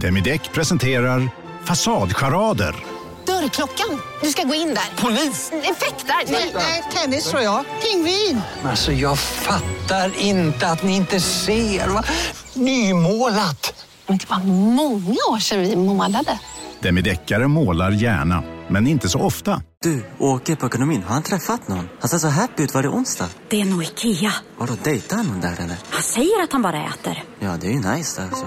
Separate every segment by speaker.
Speaker 1: Demideck presenterar Fasadcharader.
Speaker 2: Dörrklockan. Du ska gå in där. Polis? Effektar? Nej, nej, tennis tror jag. Pingvin.
Speaker 3: Alltså jag fattar inte att ni inte ser. Va? Nymålat!
Speaker 2: Men det var många år sedan vi målade.
Speaker 1: Demideckare målar gärna, men inte så ofta.
Speaker 4: Du, åker på ekonomin. Har han träffat någon? Han ser så happy ut. Var det onsdag?
Speaker 5: Det är nog Ikea.
Speaker 4: Har du dejtar han någon där eller?
Speaker 5: Han säger att han bara äter.
Speaker 4: Ja, det är ju nice där alltså.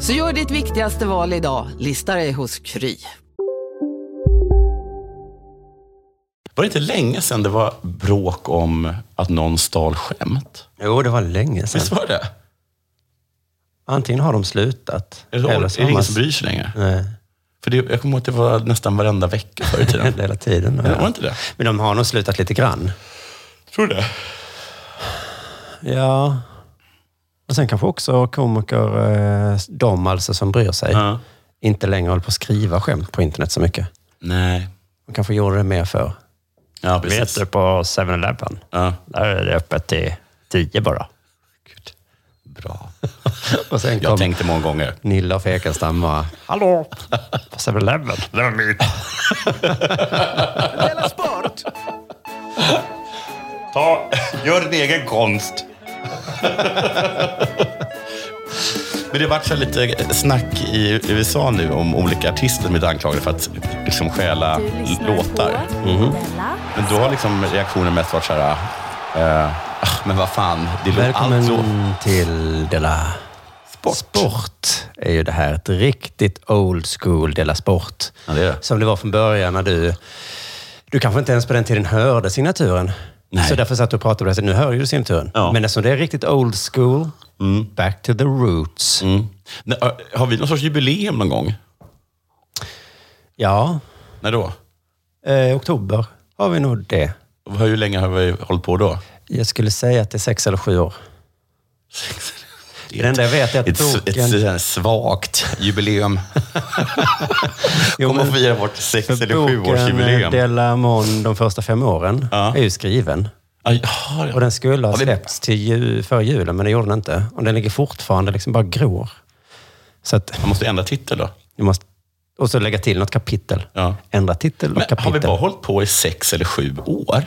Speaker 6: Så gör ditt viktigaste val idag, listar dig hos Kry.
Speaker 7: Var det inte länge sedan det var bråk om att någon stal skämt?
Speaker 4: Jo, det var länge sedan.
Speaker 7: Visst var det?
Speaker 4: Antingen har de slutat.
Speaker 7: Är det, är det ingen som bryr sig längre?
Speaker 4: Nej,
Speaker 7: För det, jag kommer ihåg att det var nästan varenda vecka förr i tiden.
Speaker 4: hela tiden.
Speaker 7: Var det inte det?
Speaker 4: Men de har nog slutat lite grann.
Speaker 7: Tror du det?
Speaker 4: Ja. Och sen kanske också komiker, eh, de alltså som bryr sig,
Speaker 7: Ja.
Speaker 4: inte längre håller på att skriva skämt på internet så mycket.
Speaker 7: Nej.
Speaker 4: De kanske gjorde det mer för.
Speaker 7: Ja, precis.
Speaker 4: på 7-Eleven?
Speaker 7: Ja.
Speaker 4: Där är det öppet till tio bara.
Speaker 7: Bra.
Speaker 4: Och sen
Speaker 7: Jag
Speaker 4: kom
Speaker 7: tänkte många gånger.
Speaker 4: Nilla och Fekenstam och Hallå! På 7-Eleven? Det var mitt.
Speaker 7: Ta, gör din egen konst. Men det har varit så här lite snack i USA nu om olika artister som är anklagade för att liksom stjäla låtar.
Speaker 6: Mhm.
Speaker 7: Men då har liksom reaktionen mest varit så här, eh, ah, men vad fan, det låter
Speaker 4: Välkommen
Speaker 7: allt så.
Speaker 4: till Della Sport. Sport är ju det här. Ett riktigt old school Della Sport.
Speaker 7: Ja, det är det.
Speaker 4: Som det var från början när du... Du kanske inte ens på den tiden hörde signaturen.
Speaker 7: Nej.
Speaker 4: Så därför satt du och pratade på det här sättet. Nu hör ju du signaturen.
Speaker 7: Ja.
Speaker 4: Men eftersom det är riktigt old school, back to the roots.
Speaker 7: Mm. Nej, eh, Har vi någon sorts jubileum någon gång?
Speaker 4: Ja,
Speaker 7: När då?
Speaker 4: eh, oktober har vi nog det.
Speaker 7: Och Hur länge har vi hållit på då?
Speaker 4: Jag skulle säga att det är sex eller sju år.
Speaker 7: Det
Speaker 4: Det enda jag vet är att
Speaker 7: ett, s- ett,
Speaker 4: boken-
Speaker 7: s- ett svagt jubileum.
Speaker 4: Jo,
Speaker 7: Kommer
Speaker 4: men-
Speaker 7: att fira vårt sex
Speaker 4: För
Speaker 7: eller
Speaker 4: boken
Speaker 7: sjuårsjubileum.
Speaker 4: Delamon de första fem åren
Speaker 7: Ja.
Speaker 4: är ju skriven.
Speaker 7: Aj, ja, ja.
Speaker 4: Och den skulle ha
Speaker 7: Ja, det-
Speaker 4: släppts till ju, för julen, men det gjorde den inte. Och den ligger fortfarande liksom bara grår. Så att
Speaker 7: Man måste ändra titel då.
Speaker 4: vi måste... Och så lägga till något kapitel.
Speaker 7: Ja.
Speaker 4: Ändra titel och
Speaker 7: Men
Speaker 4: kapitel. Mm.
Speaker 7: har vi bara hållit på i sex eller sju år?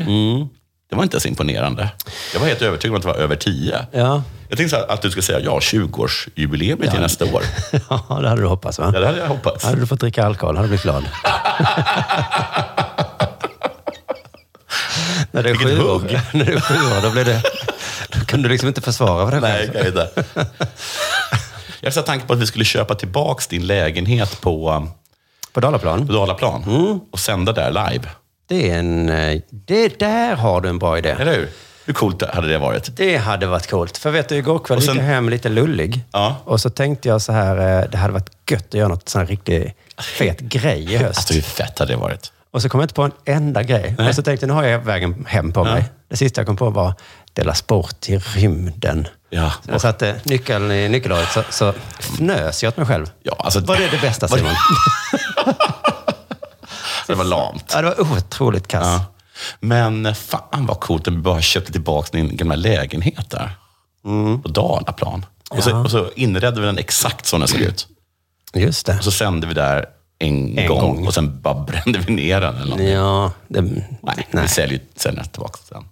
Speaker 7: Det var inte så imponerande. Jag var helt övertygad om att det var över tio.
Speaker 4: Ja.
Speaker 7: Jag tänkte så här, att du skulle säga ja, 20-årsjubileum är till nästa år.
Speaker 4: ja, det hade du hoppats Alltså, va?
Speaker 7: Ja, det hade jag hoppats.
Speaker 4: Hade du fått dricka alkohol hade du blivit glad. när det är
Speaker 7: Vilket
Speaker 4: sju år,
Speaker 7: hugg.
Speaker 4: när det är sju år, då blir det... Då kan du liksom inte försvara vad det
Speaker 7: Nej, jag kan inte. Jag satt tanke på att vi skulle köpa tillbaka din lägenhet på, um,
Speaker 4: På Dalaplan. Mm.
Speaker 7: på Dalaplan och sända där live.
Speaker 4: Det är en... eh, Det, där har du en bra idé.
Speaker 7: Eller hur? Hur coolt hade det varit?
Speaker 4: Det hade varit coolt. För vet du, igår kväll
Speaker 7: Och
Speaker 4: gick
Speaker 7: sen-
Speaker 4: jag hem lite lullig.
Speaker 7: Ja.
Speaker 4: Och så tänkte jag så här, eh, det hade varit gött att göra något sån här riktigt fet grej i höst.
Speaker 7: Alltså, hur fett hade det varit?
Speaker 4: Och så kom jag inte på en enda grej. Och så tänkte jag, nu har jag vägen hem på mig. Det sista jag kom på var, dela sport till rymden.
Speaker 7: Ja.
Speaker 4: Så jag satte nyckeln i nyckelhålet, så, så fnös jag åt mig själv.
Speaker 7: Ja, alltså,
Speaker 4: Var det det bästa,
Speaker 7: Var det-
Speaker 4: Simon?
Speaker 7: Det var lamt.
Speaker 4: ja, det var otroligt kass.
Speaker 7: Ja. Men fan vad coolt att vi bara köpte tillbaka din gamla lägenhet där.
Speaker 4: Mm.
Speaker 7: På Dalaplan. Och, så, och så inredde vi den exakt som den såg ut.
Speaker 4: Just det.
Speaker 7: Och så sände vi där en,
Speaker 4: En
Speaker 7: gång,
Speaker 4: gång.
Speaker 7: och sen bara brände vi ner den. Eller något.
Speaker 4: Ja, det,
Speaker 7: Nej, vi säljer ju- säljer den tillbaka sen.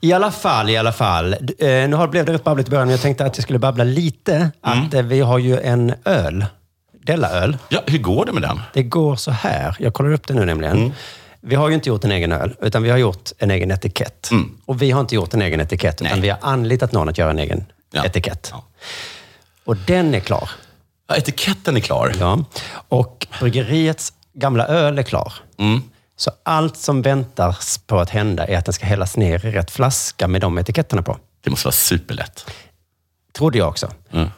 Speaker 4: I alla fall, i alla fall. D- Eh, nu har, blev det rätt babbligt i början, men jag tänkte att jag skulle babbla lite. Att eh, vi har ju en öl. Della-öl.
Speaker 7: Mm. Ja, hur går det med den? Mm.
Speaker 4: Det går så här. Jag kollar upp det nu nämligen. Vi har ju inte gjort en egen öl, utan vi har gjort en egen etikett. Och vi har inte gjort en egen etikett, utan
Speaker 7: Mm. Nej.
Speaker 4: vi har anlitat någon att göra en egen
Speaker 7: Ja.
Speaker 4: etikett.
Speaker 7: Ja.
Speaker 4: Och den är klar.
Speaker 7: Ja, etiketten är klar.
Speaker 4: Ja. Och bryggeriets gamla öl är klar. Så allt som väntas på att hända är att den ska hällas ner i rätt flaska med de etiketterna på.
Speaker 7: Det måste vara superlätt.
Speaker 6: Trodde jag också.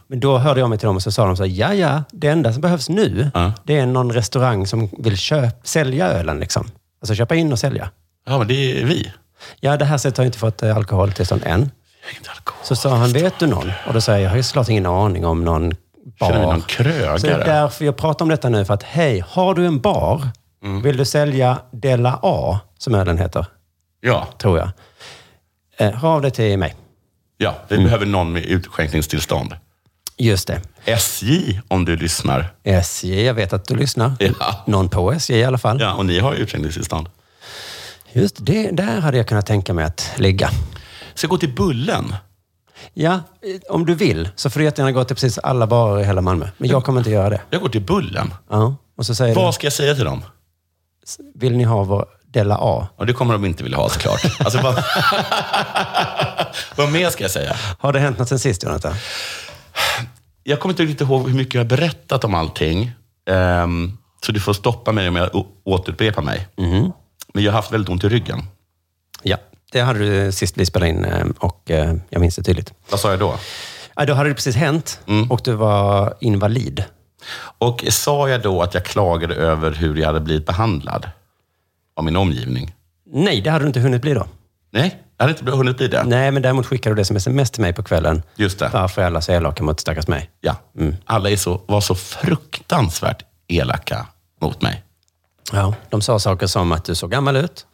Speaker 6: Men då hörde jag mig till dem och så sa de så här, ja ja, det enda som behövs nu,
Speaker 4: Ja.
Speaker 6: det är någon restaurang som vill köp, sälja ölen. Liksom. Alltså köpa in och sälja.
Speaker 4: Ja, men det är vi.
Speaker 6: Ja, det här sättet har jag inte fått eh, alkoholtillstånd än.
Speaker 4: Inte alkohol.
Speaker 6: Så sa han, vet du någon? Och då sa jag, jag har ju såklart ingen aning om någon bar.
Speaker 4: Känner vi någon
Speaker 6: Så det är
Speaker 4: krögare?
Speaker 6: därför jag pratar om detta nu, för att hej, har du en bar, vill du sälja Della A, som ölen heter,
Speaker 4: Ja,
Speaker 6: tror jag. Eh, hör av dig till mig.
Speaker 4: ja, vi behöver någon med utskänkningstillstånd.
Speaker 6: Mm. Just det.
Speaker 4: SJ, om du lyssnar.
Speaker 6: SJ, jag vet att du lyssnar.
Speaker 4: Ja.
Speaker 6: Någon på SJ i alla fall.
Speaker 4: Ja, och ni har ju utskänkningstillstånd.
Speaker 6: Just det, där hade jag kunnat tänka mig att ligga.
Speaker 4: Ska jag gå till Bullen?
Speaker 6: Ja, eh, om du vill så får du jättegärna gå till precis alla barer i hela Malmö. Men jag kommer inte göra det.
Speaker 4: Jag går till Bullen.
Speaker 6: Ja. Och så säger
Speaker 4: Vad ska jag säga till dem?
Speaker 6: du, vill ni ha vår Della A?
Speaker 4: Och det kommer de inte vilja ha såklart. Alltså, vad... vad mer ska jag säga?
Speaker 6: Har det hänt något sen sist, Jonathan?
Speaker 4: Jag kommer inte riktigt ihåg hur mycket jag har berättat om allting. Ehm, så du får stoppa mig om jag å- återupprepar mig. Men jag har haft väldigt ont i ryggen.
Speaker 6: Mhm. Ja, det hade du sist vi spelade in eh, och eh, jag minns det tydligt.
Speaker 4: Vad sa jag då? Mm.
Speaker 6: Ja, då hade det precis hänt och du var invalid.
Speaker 4: Och sa jag då att jag klagade över hur jag hade blivit behandlad av min omgivning?
Speaker 6: Nej, det hade du inte hunnit bli då.
Speaker 4: Nej, jag hade inte hunnit bli det.
Speaker 6: Nej, men däremot skickade du det som sms till mig på kvällen.
Speaker 4: Just det.
Speaker 6: Varför är alla så elaka mot stackars mig? Mm.
Speaker 4: Ja. Alla är så, var så fruktansvärt elaka mot mig.
Speaker 6: Ja. De sa saker som att du såg gammal ut.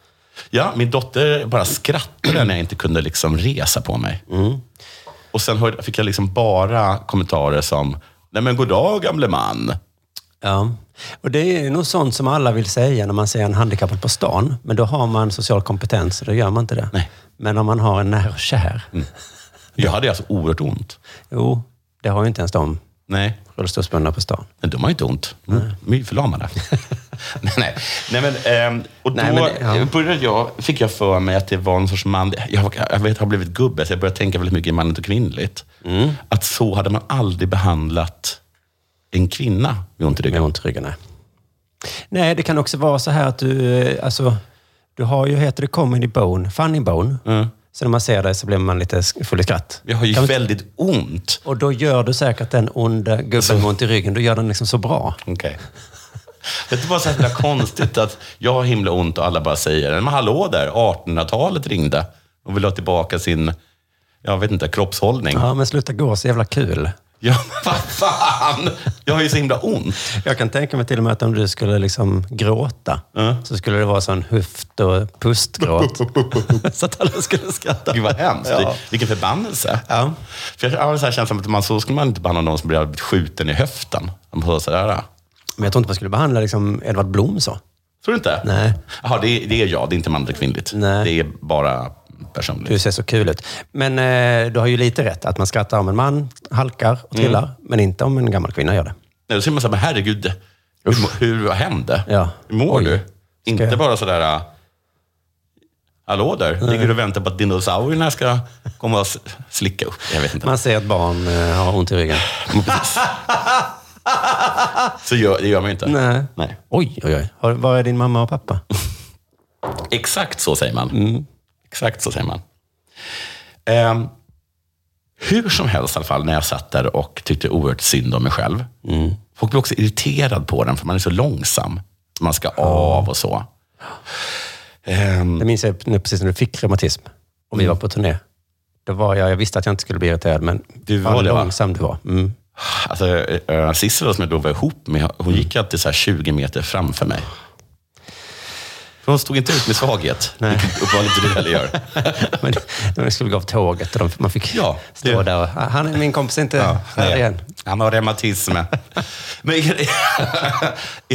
Speaker 4: Ja, min dotter bara skrattade när jag inte kunde liksom resa på mig.
Speaker 6: Mm.
Speaker 4: Och sen hörde, fick jag liksom bara kommentarer som, nej men god dag gamle man.
Speaker 6: Ja. Och det är nog sånt som alla vill säga när man ser en handikappad på stan. Men då har man social kompetens och då gör man inte det.
Speaker 4: Nej.
Speaker 6: Men om man har en nära och kär.
Speaker 4: Jag hade alltså oerhört ont.
Speaker 6: Jo, det har ju inte ens de
Speaker 4: Nej,
Speaker 6: rullstolsbundna på stan.
Speaker 4: men de har ju inte ont. De de är ju förlamade. nej, nej. nej, men, ehm, och då
Speaker 6: Nej, men det- ja.
Speaker 4: började jag, fick jag för mig att det var en sorts man... Jag, jag vet, har blivit gubbe, så jag började tänka väldigt mycket i manligt och kvinnligt.
Speaker 6: Mm.
Speaker 4: Att så hade man aldrig behandlat en kvinna med ont i
Speaker 6: Med
Speaker 4: ryggen.
Speaker 6: ont i ryggen, nej. Nej, det kan också vara så här att du... eh, Alltså, du har ju, heter det comedy bone, funny bone. Så när man ser dig så blir man lite sk- full i skratt.
Speaker 4: Mm. Jag har ju
Speaker 6: Kan man-
Speaker 4: väldigt ont.
Speaker 6: Och då gör du säkert den onda gubben med ont i ryggen, då gör den liksom så bra.
Speaker 4: Okej. Det var så himla konstigt att jag har himla ont och alla bara säger men hallå där, 1800-talet ringde och vill ha tillbaka sin, jag vet inte, kroppshållning.
Speaker 6: Ja, men sluta gå, så jävla kul.
Speaker 4: Ja, men vad fan! Jag har ju så himla ont.
Speaker 6: Jag kan tänka mig till och med att om du skulle liksom gråta, så skulle det vara sån höft och pustgråt. så att alla skulle skratta.
Speaker 4: Gud vad hemskt.
Speaker 6: Ja.
Speaker 4: Vilken förbannelse.
Speaker 6: Ja.
Speaker 4: För jag har så här känslan att man, så skulle man inte behandla någon som blir skjuten i höften. Man får sådär.
Speaker 6: Men jag tror inte man skulle behandla liksom Edvard Blom så.
Speaker 4: Tror du inte?
Speaker 6: Nej.
Speaker 4: Jaha, det, är- det är jag. Det är inte manligt och kvinnligt.
Speaker 6: Nej.
Speaker 4: Det är bara personligt.
Speaker 6: Du ser så kul ut. Men eh, du har ju lite rätt att man skrattar om en man halkar och trillar, men inte om en gammal kvinna gör det.
Speaker 4: Mm. Nej, då säger man så här, men herregud, hur, hur, vad hände?
Speaker 6: Ja.
Speaker 4: Hur mår
Speaker 6: Oj.
Speaker 4: du? Inte
Speaker 6: jag-
Speaker 4: bara sådär, äh, hallå där, ligger du och väntar på att dinosaurierna ska komma och s- slicka upp? Jag vet inte.
Speaker 6: Man ser ett barn eh, ha ont i ryggen.
Speaker 4: Så gör, det gör man ju inte.
Speaker 6: Nej.
Speaker 4: Nej.
Speaker 6: Oj, oj, oj. Har- Var är din mamma och pappa? Mm.
Speaker 4: Exakt så säger man. Exakt så säger man. Ehm, hur som helst i alla fall, när jag satt där och tyckte oerhört synd om mig själv.
Speaker 6: Mm.
Speaker 4: Folk blir också irriterad på den, för man är så långsam. Man ska av och så. Ehm,
Speaker 6: Det minns jag när- precis när du fick reumatism och vi var på turné. Då var jag, jag visste att jag inte skulle bli irriterad, men
Speaker 4: Du
Speaker 6: fan
Speaker 4: var det, va?
Speaker 6: långsam du var. Mm.
Speaker 4: Alltså, eh, Sissela som jag då var ihop med, hon gick alltid så här 20 meter framför mig. För hon stod inte ut med svaghet, vilket uppenbarligen inte du heller gör.
Speaker 6: Men när vi skulle gå av tåget och de, man fick
Speaker 4: Ja,
Speaker 6: stå
Speaker 4: det-
Speaker 6: där och, Ah, han är min kompis är inte här igen.
Speaker 4: Han har reumatism. Men är det,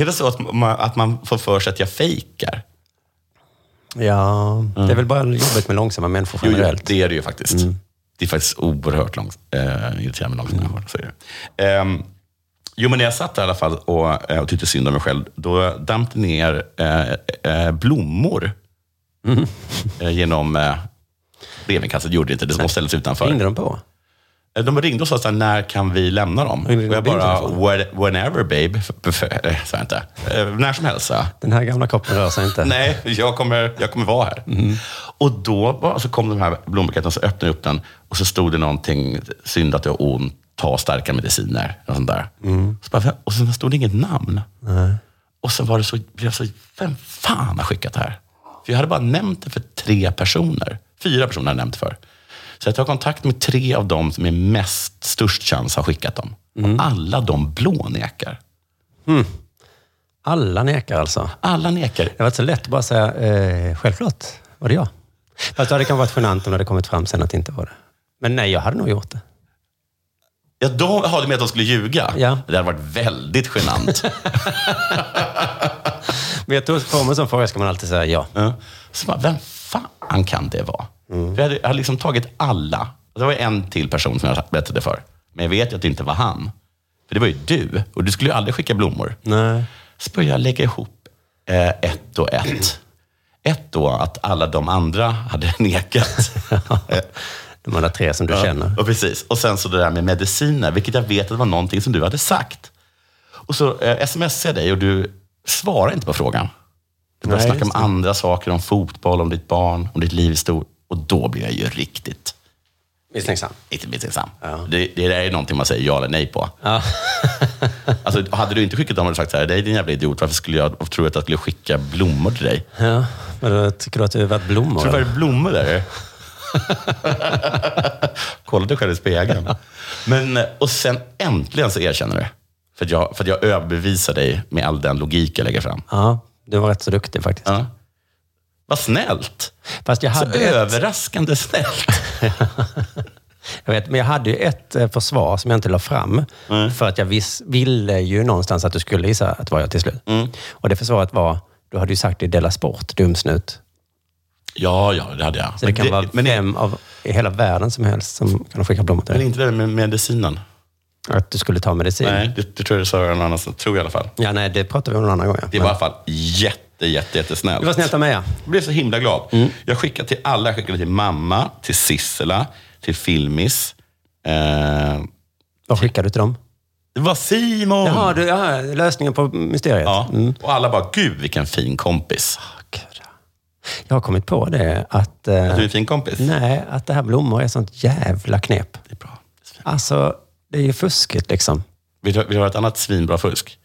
Speaker 4: är det så att man, att man får för sig att jag fejkar? Mm.
Speaker 6: Ja, det är väl bara jobbigt med långsamma människor
Speaker 4: Jo, jo,
Speaker 6: generellt. Mm.
Speaker 4: det är det ju faktiskt. Det är faktiskt oerhört långt, eh, irriterande långt. Mm. Så är det. Ehm, jo, men när jag satt där i alla fall och, eh, och tyckte synd om mig själv, då damp det ner eh, eh, blommor
Speaker 6: Mm.
Speaker 4: eh, genom eh, brevinkastet. Gjorde det inte det, de ställdes utanför.
Speaker 6: Ringde de på?
Speaker 4: Eh, De ringde och sa såhär, när kan vi lämna dem? Och
Speaker 6: Ringde
Speaker 4: jag
Speaker 6: din
Speaker 4: bara,
Speaker 6: telefon?
Speaker 4: "When- whenever babe, F- f- eh, sa jag inte. Eh, När som helst, sa jag.
Speaker 6: Den här gamla kroppen rör sig inte. Mm.
Speaker 4: Nej, jag kommer, jag kommer vara här. Och då bara, så kom de här blombuketten och så öppnade jag upp den. Och så stod det någonting, synd att jag har ont, ta starka mediciner. Och, sånt där.
Speaker 6: Mm.
Speaker 4: Så bara, vem- och sen stod det inget namn. Och sen var det så, blev jag så, vem fan har skickat det här? För jag hade bara nämnt det för tre personer. Fyra personer hade jag nämnt det för. Så jag tar kontakt med tre av dem som är mest, störst chans har skickat dem.
Speaker 6: Mm.
Speaker 4: Och alla de blånekar.
Speaker 6: Hmm. Alla nekar alltså.
Speaker 4: Alla nekar.
Speaker 6: Det var inte så lätt att bara säga, eh, självklart var det jag. Fast det hade kanske varit genant om det hade kommit fram sen att det inte var det. Men nej, jag hade nog gjort det.
Speaker 4: Ja, de, aha, du menar att de skulle ljuga?
Speaker 6: Ja.
Speaker 4: Det hade varit väldigt genant.
Speaker 6: Men jag tror, får man en sån fråga ska man alltid säga ja.
Speaker 4: Ja. Så bara, vem fan kan det vara?
Speaker 6: Mm.
Speaker 4: För jag, hade, jag hade liksom tagit alla. Och det var en till person som jag berättade för. Men jag vet ju att det inte var han. För det var ju du. Och du skulle ju aldrig skicka blommor.
Speaker 6: Nej.
Speaker 4: Så började jag lägga ihop eh, ett och ett. Ett då att alla de andra hade nekat.
Speaker 6: De andra tre som du känner.
Speaker 4: Och precis. Och sen så det där med mediciner, vilket jag vet att det var någonting som du hade sagt. Och så eh, smsade jag dig och du svarar inte på frågan. Du börjar
Speaker 6: Nej,
Speaker 4: snacka om
Speaker 6: just det.
Speaker 4: andra saker, om fotboll, om ditt barn, om ditt liv i stort. Och då blir jag ju riktigt,
Speaker 6: Misstänksam.
Speaker 4: riktigt misstänksam. Det, det där är någonting man säger ja eller nej på. alltså, hade du inte skickat dem hade du sagt så här, det är din jävla idiot, varför skulle jag, varför tror du att jag skulle skicka blommor till dig?
Speaker 6: Ja. Men då tycker du att du är värd blommor?
Speaker 4: Tror
Speaker 6: eller?
Speaker 4: du det var blommor där? Kolla dig själv i spegeln. Men, och sen äntligen så erkänner du. För att, jag, för att jag överbevisar dig med all den logik jag lägger fram.
Speaker 6: Ja, du var rätt så duktig faktiskt.
Speaker 4: Ja. Vad snällt!
Speaker 6: Fast jag
Speaker 4: Så
Speaker 6: hade, ett,
Speaker 4: överraskande snällt.
Speaker 6: jag vet, men jag hade ju ett eh, försvar som jag inte la fram.
Speaker 4: Mm.
Speaker 6: För att jag viss, ville ju någonstans att du skulle gissa att det var jag till slut.
Speaker 4: Mm.
Speaker 6: Och det försvaret var, du hade ju sagt det i Della Sport, dumsnut.
Speaker 4: Ja, ja, det hade jag.
Speaker 6: Så det kan vara
Speaker 4: men,
Speaker 6: vem av i hela världen som helst som kan skicka blommor till
Speaker 4: men
Speaker 6: dig.
Speaker 4: inte det med medicinen.
Speaker 6: Att du skulle ta medicin.
Speaker 4: Nej, det, det tror jag du sa någon annanstans. Tror jag i alla fall.
Speaker 6: Ja, nej, det pratade vi om någon annan gång. Ja.
Speaker 4: Det var i alla fall jätte, jätte, jättesnällt.
Speaker 6: det var snällt av mig, ja.
Speaker 4: Jag blev så himla glad.
Speaker 6: Mm.
Speaker 4: Jag skickade till alla. Jag skickade till mamma, till Sissela, till Filmis. Eh,
Speaker 6: Vad skickade du till dem?
Speaker 4: det var Simon!
Speaker 6: Jaha, du, ja, lösningen på mysteriet. Mm.
Speaker 4: Ja. Och alla bara, gud vilken fin kompis.
Speaker 6: Gud. Jag har kommit på det att... eh,
Speaker 4: Att du är en fin kompis.
Speaker 6: Nej, att det här blommor är sånt jävla knep.
Speaker 4: Det är bra. Det är fint.
Speaker 6: Alltså, det är ju fuskigt liksom.
Speaker 4: Vill du, vill du ha ett annat svinbra fusk?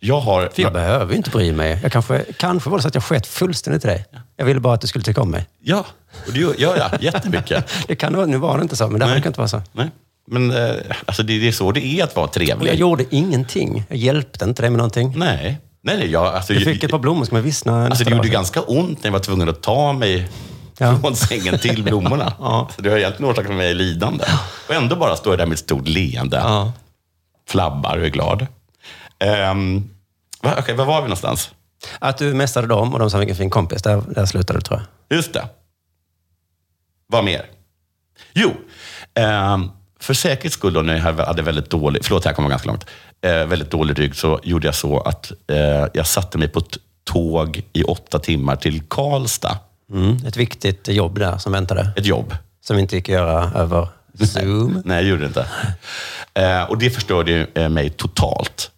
Speaker 4: Jag har...
Speaker 6: Mm. För jag behöver ju inte bry mig. Jag kanske, kanske var det så att jag sket fullständigt i dig. Jag ville bara att du skulle tycka om mig.
Speaker 4: Ja, och det gör gör jag jättemycket.
Speaker 6: Det kan, vara- nu var det inte så, men det här kan inte vara så.
Speaker 4: Nej. Men eh, alltså, det, det är så det är att vara
Speaker 6: Och jag
Speaker 4: trevlig.
Speaker 6: gjorde ingenting. Jag hjälpte inte dig med någonting.
Speaker 4: Nej. Nej, nej, jag, alltså,
Speaker 6: Du fick ett par blommor som jag vissna
Speaker 4: Alltså
Speaker 6: nästa
Speaker 4: det
Speaker 6: dag.
Speaker 4: gjorde ganska ont när jag var tvungen att ta mig
Speaker 6: Ja.
Speaker 4: från sängen till blommorna.
Speaker 6: Ja.
Speaker 4: Så det har egentligen orsakat mig lidande. Och ändå bara står jag där med ett stort leende,
Speaker 6: Ja.
Speaker 4: flabbar och är glad. Um, va, okej, var var vi någonstans?
Speaker 6: Att du mästade dem och de sa vilken fin kompis. Där, där slutade du tror jag.
Speaker 4: Just det. Vad mer? Jo, ehm, för säkerhets skull då, när jag hade väldigt dålig, förlåt det här kommer ganska långt, eh, väldigt dålig rygg så gjorde jag så att eh, jag satte mig på ett tåg i åtta timmar till Karlstad.
Speaker 6: Mm, Ett viktigt jobb där som väntade.
Speaker 4: Ett jobb.
Speaker 6: Som inte gick att göra över Zoom.
Speaker 4: Nej, jag gjorde det inte. Eh, och det förstörde ju eh, mig totalt.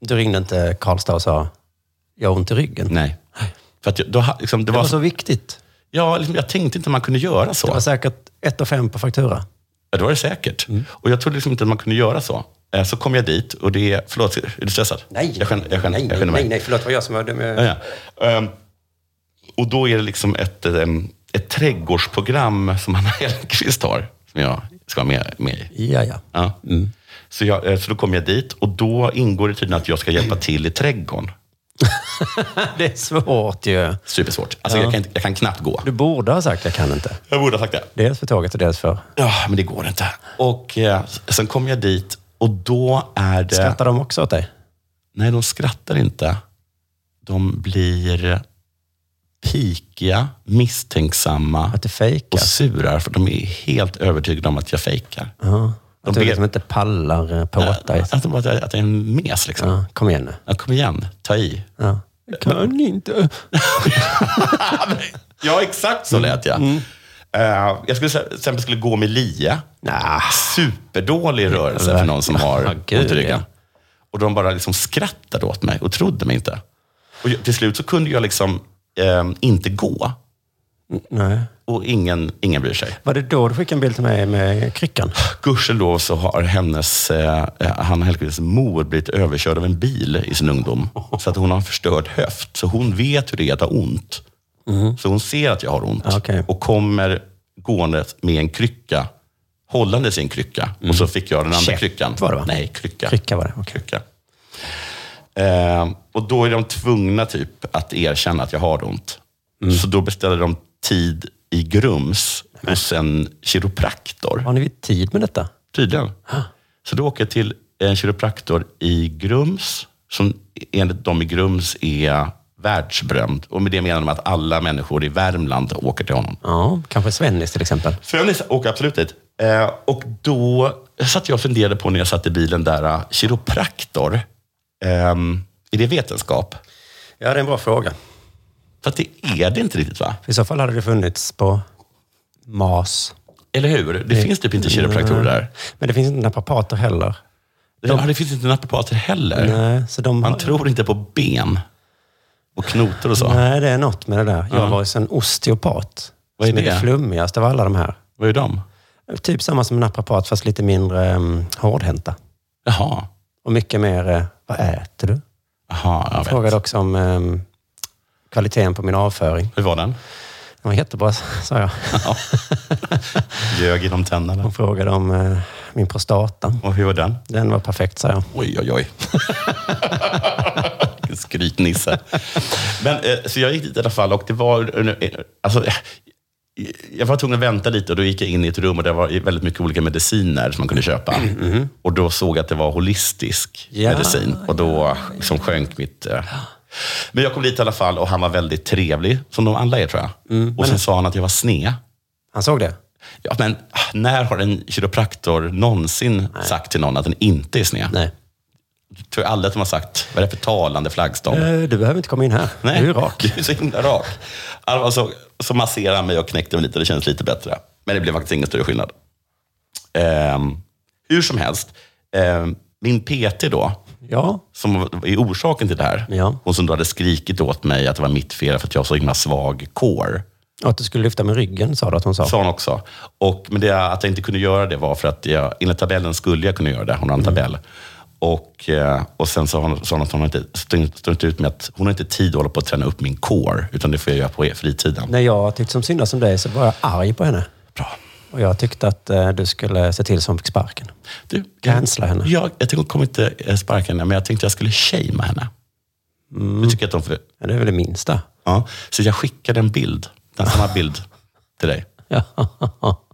Speaker 6: Du ringde inte Karlstad och sa, jag har ont i ryggen.
Speaker 4: Nej. För att jag, då, ha- liksom, det
Speaker 6: Det
Speaker 4: var,
Speaker 6: var så viktigt.
Speaker 4: ja, liksom, jag tänkte inte att man kunde göra så.
Speaker 6: Det var säkert 1 fem på faktura. Mm.
Speaker 4: Ja, det var det säkert. Och jag trodde liksom inte att man kunde göra så. Eh, så kom jag dit och det är... Förlåt, är du stressad? Jag skän, jag skän,
Speaker 6: nej,
Speaker 4: jag skänner mig.
Speaker 6: nej, nej, förlåt. Det var jag som var dum.
Speaker 4: Ja, ja. Ehm, och då är det liksom ett, ehm, ett trädgårdsprogram som Anna Hellquist har, som jag ska vara med, med i.
Speaker 6: Ja, ja. Mm.
Speaker 4: Ja. Så, jag, eh, så då kom jag dit och då ingår det tydligen att jag ska hjälpa till i trädgården.
Speaker 6: Det är svårt ju.
Speaker 4: Supersvårt. Alltså, jag, kan, inte- jag kan knappt gå.
Speaker 6: Du borde ha sagt, jag kan inte.
Speaker 4: Jag borde ha sagt det.
Speaker 6: Dels för tåget och dels för...
Speaker 4: Ja, men det går inte. Och eh, sen kom jag dit och då är det...
Speaker 6: Skrattar de också åt dig?
Speaker 4: Nej, de skrattar inte. De blir pikiga, misstänksamma
Speaker 6: Att du
Speaker 4: och
Speaker 6: fejkar?
Speaker 4: surar för de är helt övertygade om att jag fejkar.
Speaker 6: Ja. Att du
Speaker 4: ber-
Speaker 6: liksom inte pallar eh,
Speaker 4: Att,
Speaker 6: påta dig?
Speaker 4: Äh, att, de bara- att jag är en mes liksom.
Speaker 6: Ja, kom igen nu.
Speaker 4: Ja, kom igen, ta i.
Speaker 6: Ja. Kan inte.
Speaker 4: Ja, exakt så lät jag.
Speaker 6: Mm.
Speaker 4: Eh, jag skulle säga, till exempel skulle gå med lia.
Speaker 6: Nah.
Speaker 4: Superdålig rörelse för någon som har
Speaker 6: Ja,
Speaker 4: ont i
Speaker 6: gud,
Speaker 4: ryggen.
Speaker 6: ja.
Speaker 4: Och de bara liksom skrattade åt mig och trodde mig inte. Och jag- till slut så kunde jag liksom eh, inte gå.
Speaker 6: Nej.
Speaker 4: Och ingen, ingen bryr sig.
Speaker 6: Var det då du skickade en bild till mig med kryckan?
Speaker 4: Gudskelov så har hennes, eh, Hanna Hellquists mor blivit överkörd av en bil i sin ungdom. Så att hon har en förstörd höft. Så hon vet hur det är att ha ont. Så hon ser att jag har ont.
Speaker 6: Mm. Ah, okej.
Speaker 4: Och kommer gående med en krycka, hållande sin krycka. Och så fick jag den andra
Speaker 6: Mm. Käpp
Speaker 4: kryckan.
Speaker 6: var det, va?
Speaker 4: Nej, krycka.
Speaker 6: Krycka var det, okej.
Speaker 4: krycka. Eh, och då är de tvungna typ att erkänna att jag har ont.
Speaker 6: Mm.
Speaker 4: Så då beställer de tid i Grums hos en kiropraktor.
Speaker 6: Har ni tid med detta? Ah.
Speaker 4: Tydligen. Så då åker jag till en kiropraktor i Grums, som enligt dem i Grums är världsberömd. Och med det menar de att alla människor i Värmland åker till honom.
Speaker 6: Ja, kanske Svennis till exempel.
Speaker 4: Så jag åker absolut dit. Eh, och då satt jag och funderade på när jag satt i bilen där, eh, kiropraktor, ehm, är det vetenskap?
Speaker 6: Ja, det är en bra fråga.
Speaker 4: För att det är det inte riktigt va?
Speaker 6: I så fall hade det funnits på MAS.
Speaker 4: Eller hur? Det, finns typ inte kiropraktorer där.
Speaker 6: Men det finns inte naprapater heller.
Speaker 4: Det, ja, det finns inte naprapater heller.
Speaker 6: Nej, så de
Speaker 4: Man
Speaker 6: har-
Speaker 4: tror inte på ben och knotor och så.
Speaker 6: Nej, det är något med det där. Jag var hos en osteopat.
Speaker 4: Vad är
Speaker 6: som
Speaker 4: det?
Speaker 6: är det flummigaste av alla de här.
Speaker 4: Vad är de?
Speaker 6: Typ samma som en naprapat, fast lite mindre um, hårdhänta.
Speaker 4: Jaha.
Speaker 6: Och mycket mer, eh, vad äter du?
Speaker 4: Jaha, jag vet.
Speaker 6: Frågade också om ehm, kvaliteten på min avföring.
Speaker 4: Hur var den?
Speaker 6: Den var jättebra, sa jag.
Speaker 4: Ja. Ljög genom tänderna.
Speaker 6: Hon frågade om eh, min prostata.
Speaker 4: Och hur var den?
Speaker 6: Den var perfekt, sa jag.
Speaker 4: Oj, oj, oj. Vilken Skrytnisse. Men, eh, så jag gick dit i alla fall och det var... eh, Alltså, eh, jag var tvungen att vänta lite och då gick jag in i ett rum och det var väldigt mycket olika mediciner som man kunde köpa. Och då såg jag att det var holistisk
Speaker 6: Mm, mm-hmm. Ja.
Speaker 4: medicin och då liksom sjönk mitt... eh. Men jag kom dit i alla fall och han var väldigt trevlig, som de alla är tror jag. Och sen sa han att jag var sned.
Speaker 6: Mm, Han såg det?
Speaker 4: Ja, men ah, när har en kiropraktor någonsin sagt till någon att den inte är sned?
Speaker 6: Nej.
Speaker 4: Jag tror aldrig att de har sagt, vad är det för talande flaggstång?
Speaker 6: Eh, du behöver inte komma in här. Du är rak.
Speaker 4: Du är så himla rak. Alltså, så masserade han mig och knäckte mig lite, det kändes lite bättre. Men det blev faktiskt ingen större skillnad. Ehm, hur som helst, ehm, min PT då,
Speaker 6: Ja,
Speaker 4: som är orsaken till det här,
Speaker 6: Ja.
Speaker 4: hon som då hade skrikit åt mig att det var mitt fel för att jag har så himla svag core.
Speaker 6: och att du skulle lyfta med ryggen, sa du att hon sa.
Speaker 4: sa hon också. Och, men det, att jag inte kunde göra det var för att jag, enligt tabellen skulle jag kunna göra det. Hon har en
Speaker 6: Mm.
Speaker 4: tabell. Och, eh, och sen sa hon, sa hon att hon har inte, stå- står inte ut med att hon har inte tid att hålla på att träna upp min core, utan det får jag göra på e- fritiden.
Speaker 6: När jag tyckte som synd som dig så var jag arg på henne.
Speaker 4: Bra.
Speaker 6: Och jag tyckte att eh, du skulle se till så hon fick sparken.
Speaker 4: Du,
Speaker 6: Cancella henne.
Speaker 4: Jag, jag tänkte, hon kommer inte eh, sparka henne, men jag tänkte jag skulle shamea henne. Du tycker att de får,
Speaker 6: Mm. Ja, det är väl det minsta.
Speaker 4: ja. Så jag skickade en bild, den samma bild, till dig.
Speaker 6: Ja.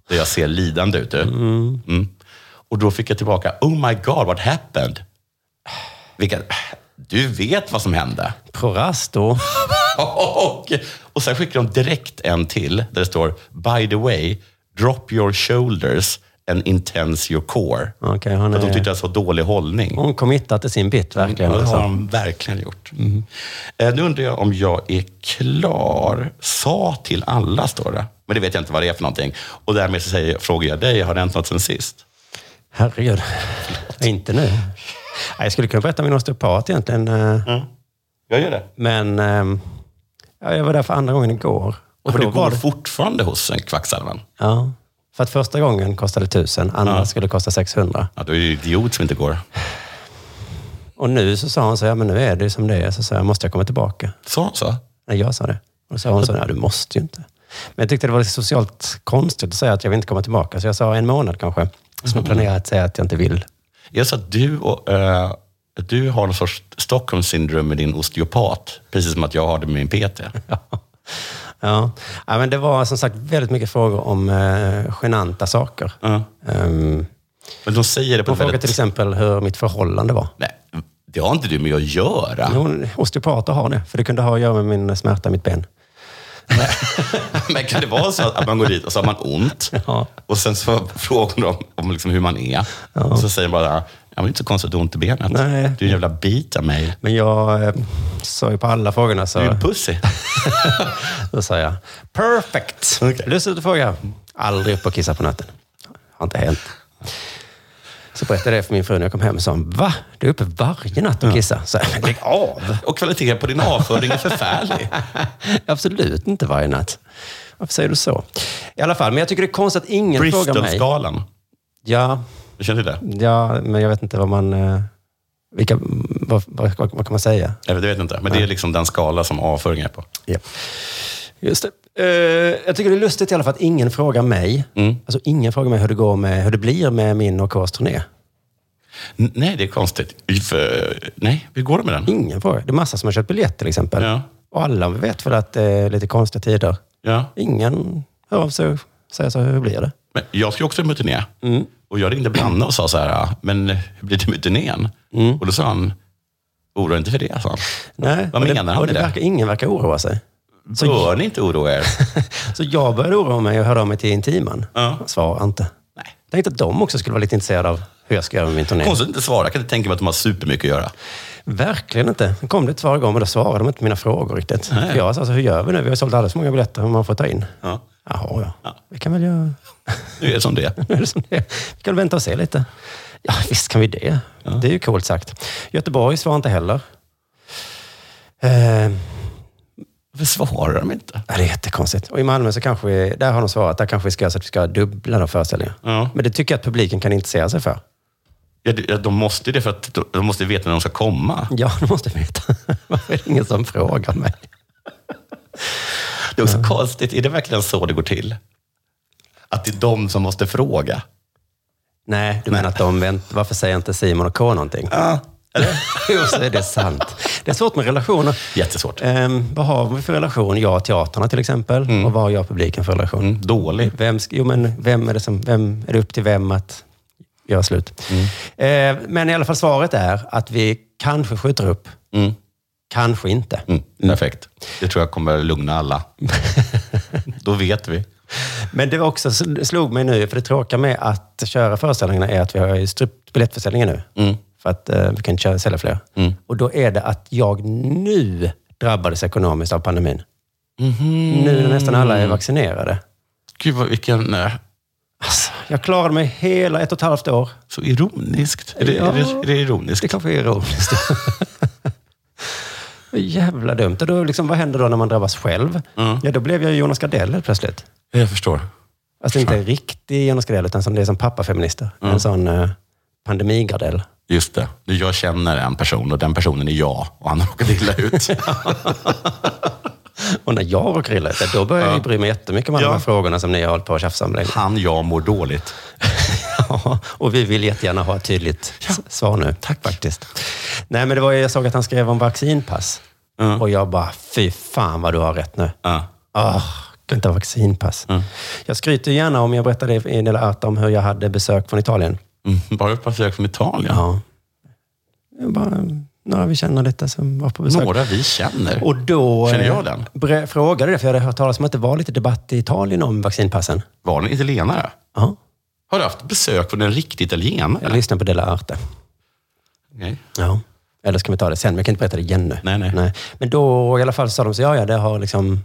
Speaker 4: Där jag ser lidande ut. du. Mm. Och då fick jag tillbaka, oh my god, what happened? Vilket, du vet vad som hände.
Speaker 6: Prorasto.
Speaker 4: Och, och sen skickade de direkt en till där det står, by the way, drop your shoulders and intense your core.
Speaker 6: Okej, hon
Speaker 4: För att de
Speaker 6: är-
Speaker 4: tyckte jag så dålig hållning.
Speaker 6: Hon committat till sin bit, verkligen.
Speaker 4: Ja, det har
Speaker 6: alltså.
Speaker 4: de verkligen gjort. Eh, nu undrar jag om jag är klar. Sa till alla, står det. Men det vet jag inte vad det är för någonting. Och därmed så säger, frågar jag dig, har det hänt något sen sist?
Speaker 6: Herregud. Inte nu. Nej, Jag skulle kunna berätta om min osteopat egentligen. eh,
Speaker 4: Mm. Jag gör det.
Speaker 6: Men ehm, ja, jag var där för andra gången igår.
Speaker 4: Och du
Speaker 6: då var
Speaker 4: går fortfarande hos eh, en kvacksalvan?
Speaker 6: Ja. För att första gången kostade 1000, andra
Speaker 4: Ja.
Speaker 6: skulle kosta 600.
Speaker 4: Ja, du är ju idiot som inte går.
Speaker 6: Och nu så sa hon så här, ja, men nu är det ju som det är. Så sa jag, måste jag komma tillbaka?
Speaker 4: Sa hon så?
Speaker 6: Nej, jag sa det. Och då sa hon så här, "Nej, du måste ju inte. Men jag tyckte det var lite socialt konstigt att säga att jag vill inte komma tillbaka. Så jag sa en månad kanske. Så nu planerar jag att säga att jag inte vill.
Speaker 4: Är det så att du, och, eh, du har någon sorts Stockholm syndrom med din osteopat? Precis som att jag har det med min PT.
Speaker 6: Ja. ja, men det var som sagt väldigt mycket frågor om eh, genanta saker.
Speaker 4: Ja.
Speaker 6: Ehm,
Speaker 4: Men de säger det på
Speaker 6: hon
Speaker 4: ett
Speaker 6: frågade till
Speaker 4: väldigt...
Speaker 6: exempel hur mitt förhållande var.
Speaker 4: Nej, det har inte du med att göra.
Speaker 6: Hon, osteopater har det, för det kunde ha att göra med min smärta i mitt ben.
Speaker 4: Men kan det vara så att man går dit och så har man ont
Speaker 6: Ja.
Speaker 4: och sen så frågar de om, om liksom hur man är. Och så säger de bara, ja, men det är inte så konstigt att du har ont i benet.
Speaker 6: Nej.
Speaker 4: Du är en jävla bit av mig.
Speaker 6: Men jag eh, sa ju på alla frågorna så...
Speaker 4: Du är en pussy.
Speaker 6: Då sa jag, perfect.
Speaker 4: Okej.
Speaker 6: Lustigt att fråga. Aldrig upp och kissa på natten. Har inte hänt.
Speaker 4: Så berättade jag det för min fru när jag kom hem. och sa hon, va? Du är uppe varje natt och kissar? Så, här, "Lägg av!
Speaker 7: Och kvaliteten på din avföring är förfärlig.
Speaker 4: Absolut inte varje natt. Varför säger du så? I alla fall, men jag tycker det är konstigt att ingen frågar mig.
Speaker 7: Bristolskalan.
Speaker 4: Ja,
Speaker 7: Du känner till det?
Speaker 4: ja, men jag vet inte vad man... eh, Vilka, vad, vad, vad, vad kan man säga?
Speaker 7: Jag vet, jag vet inte. Men det är liksom den skala som avföring är på.
Speaker 4: Ja. Just det. Eh, jag tycker det är lustigt i alla fall att ingen frågar mig. Alltså ingen frågar mig hur det går med, hur det blir med min och Ks turné.
Speaker 7: N- nej, det är konstigt. Y- För, nej, hur går det med den?
Speaker 4: Ingen frågar. Det är massa som har köpt biljett till exempel.
Speaker 7: Ja.
Speaker 4: Och alla vet väl att det är lite konstiga tider.
Speaker 7: Ja.
Speaker 4: Ingen hör av sig och säger så, här, hur blir det? Mm.
Speaker 7: Men jag ska ju också med turné. Och jag ringde Branne och sa så här, "Ah, men hur blir det med turnén? Och då sa han, oroa er inte för det, sa han.
Speaker 4: Mm. Nej.
Speaker 7: Vad
Speaker 4: och det,
Speaker 7: menar han
Speaker 4: och det
Speaker 7: med det?
Speaker 4: verkar, Ingen verkar oroa sig. Så-
Speaker 7: Bör ni inte oroa er?
Speaker 4: Så jag började oroa mig och hörde av mig till Intiman.
Speaker 7: Ja.
Speaker 4: Han svarade inte.
Speaker 7: Nej.
Speaker 4: Tänkte att de också skulle vara lite intresserade av hur jag ska göra med min turné.
Speaker 7: Konstigt att inte svara. Jag kan inte tänka mig att de har supermycket att göra.
Speaker 4: Verkligen inte. Sen kom det ett svar igång, men då svarade de inte på mina frågor riktigt. För jag sa, alltså, hur gör vi nu? Vi har sålt alldeles för många biljetter, hur man får ta in.
Speaker 7: Ja.
Speaker 4: Jaha, ja.
Speaker 7: Ja.
Speaker 4: Vi kan väl göra...
Speaker 7: Nu är det som det är.
Speaker 4: Nu är det som det är. Vi kan väl vänta och se lite. Ja, visst kan vi det. Det är ju coolt sagt. Göteborg svarar inte heller. Eh,
Speaker 7: Varför svarar de inte?
Speaker 4: Ja, det är jättekonstigt. Och i Malmö så kanske vi, där har de svarat, där kanske vi ska göra så att vi ska ha dubbla de föreställningar.
Speaker 7: Ja.
Speaker 4: Men det tycker jag att publiken kan intressera sig för.
Speaker 7: Ja, det- ja, de måste ju det för att de- de måste ju veta när de ska komma.
Speaker 4: Ja, det måste jag veta. Varför är det ingen som frågar mig?
Speaker 7: Det är också konstigt. Är det verkligen så det går till? Att det är de som måste fråga?
Speaker 4: Nej, du menar att de vänt, varför säger inte Simon och K någonting?
Speaker 7: Ja. Eller?
Speaker 4: Jo, så är det sant. Det är svårt med relationer.
Speaker 7: Jättesvårt.
Speaker 4: Ehm, vad har vi för relation? Jag och teaterna till exempel. Och vad har jag och publiken för relation?
Speaker 7: Mm, dålig.
Speaker 4: Vem, sk- jo, men vem är det som, vem är det upp till vem att göra slut?
Speaker 7: Mm.
Speaker 4: Eh, men i alla fall svaret är att vi kanske skjuter upp. Kanske inte.
Speaker 7: Mm, perfekt. Det tror jag kommer lugna alla. Då vet vi.
Speaker 4: Men det var också sl- slog mig nu, för det tråkiga med att köra föreställningarna är att vi har ju strypt biljettförsäljningen nu. För att eh, vi kan inte köra, sälja fler. Och då är det att jag nu drabbades ekonomiskt av pandemin. Nu när nästan alla är vaccinerade.
Speaker 7: Gud, vad, vilken... eh,
Speaker 4: Alltså, jag klarade mig hela ett och ett halvt år.
Speaker 7: Så ironiskt. Är det, är det, är det ironiskt?
Speaker 4: Det kanske är ironiskt. Vad Jävla dumt. Och då liksom, vad händer då när man drabbas själv? Ja, då blev jag Jonas Gardell helt plötsligt.
Speaker 7: Mm. Jag förstår.
Speaker 4: Alltså inte en riktig Jonas Gardell, utan som det är som pappafeminister. En sån eh, pandemigardell.
Speaker 7: Mm. Just det. Nu, Jag känner en person och den personen är jag och han har råkat illa ut.
Speaker 4: Och när jag råkar illa ut, då börjar jag ju bry mig jättemycket om alla
Speaker 7: Ja.
Speaker 4: de här frågorna som ni har hållit på och tjafsat om länge.
Speaker 7: Han, jag mår dåligt.
Speaker 4: Ja, och vi vill jättegärna ha ett tydligt s- svar nu. Tack. Faktiskt. Nej, men det var ju, jag såg att han skrev om vaccinpass. Och jag bara, fy fan vad du har rätt nu.
Speaker 7: Ja.
Speaker 4: Ah, kan inte ha vaccinpass. Jag skryter ju gärna om, jag berättade i en del art om hur jag hade besök från Italien.
Speaker 7: Mm, bara ett par besök från Italien.
Speaker 4: Ja. Det var Bara några vi känner lite som var på besök.
Speaker 7: Några vi känner.
Speaker 4: Och då
Speaker 7: Känner jag
Speaker 4: eh,
Speaker 7: den?
Speaker 4: bre- frågade det, för jag hade hört talas om att det var lite debatt i Italien om vaccinpassen.
Speaker 7: Var ni italienare?
Speaker 4: Ja,
Speaker 7: Har du haft besök från en riktig italienare?
Speaker 4: jag lyssnade på Della Arte.
Speaker 7: Nej.
Speaker 4: Ja. Eller ska vi ta det sen? Men jag kan inte berätta det igen nu.
Speaker 7: Nej, nej.
Speaker 4: Men då i alla fall sa de så, ja, ja, det har liksom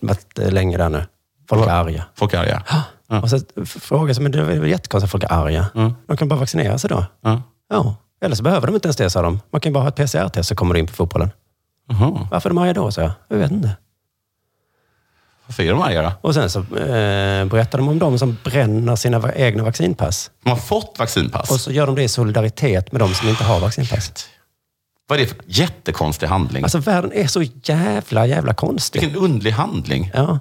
Speaker 4: varit eh, länge där nu. Folk är arga.
Speaker 7: Folk är arga.
Speaker 4: Och så frågar jag, men det är väl jättekonstigt att folk är arga. De kan bara vaccinera sig då.
Speaker 7: Ja.
Speaker 4: Ja. Eller så behöver de inte ens det, sa de. Man kan ju bara ha ett PCR-test så kommer du in på fotbollen.
Speaker 7: Jaha.
Speaker 4: Varför är de arga då, sa jag. Jag vet inte.
Speaker 7: Varför är de arga då?
Speaker 4: Och sen så eh, berättar de om de som bränner sina va- egna vaccinpass.
Speaker 7: De har fått vaccinpass.
Speaker 4: Och så gör de det i solidaritet med de som inte har vaccinpass.
Speaker 7: Vad är det för jättekonstig handling?
Speaker 4: Alltså världen är så jävla, jävla konstig.
Speaker 7: Vilken underlig handling.
Speaker 4: Ja.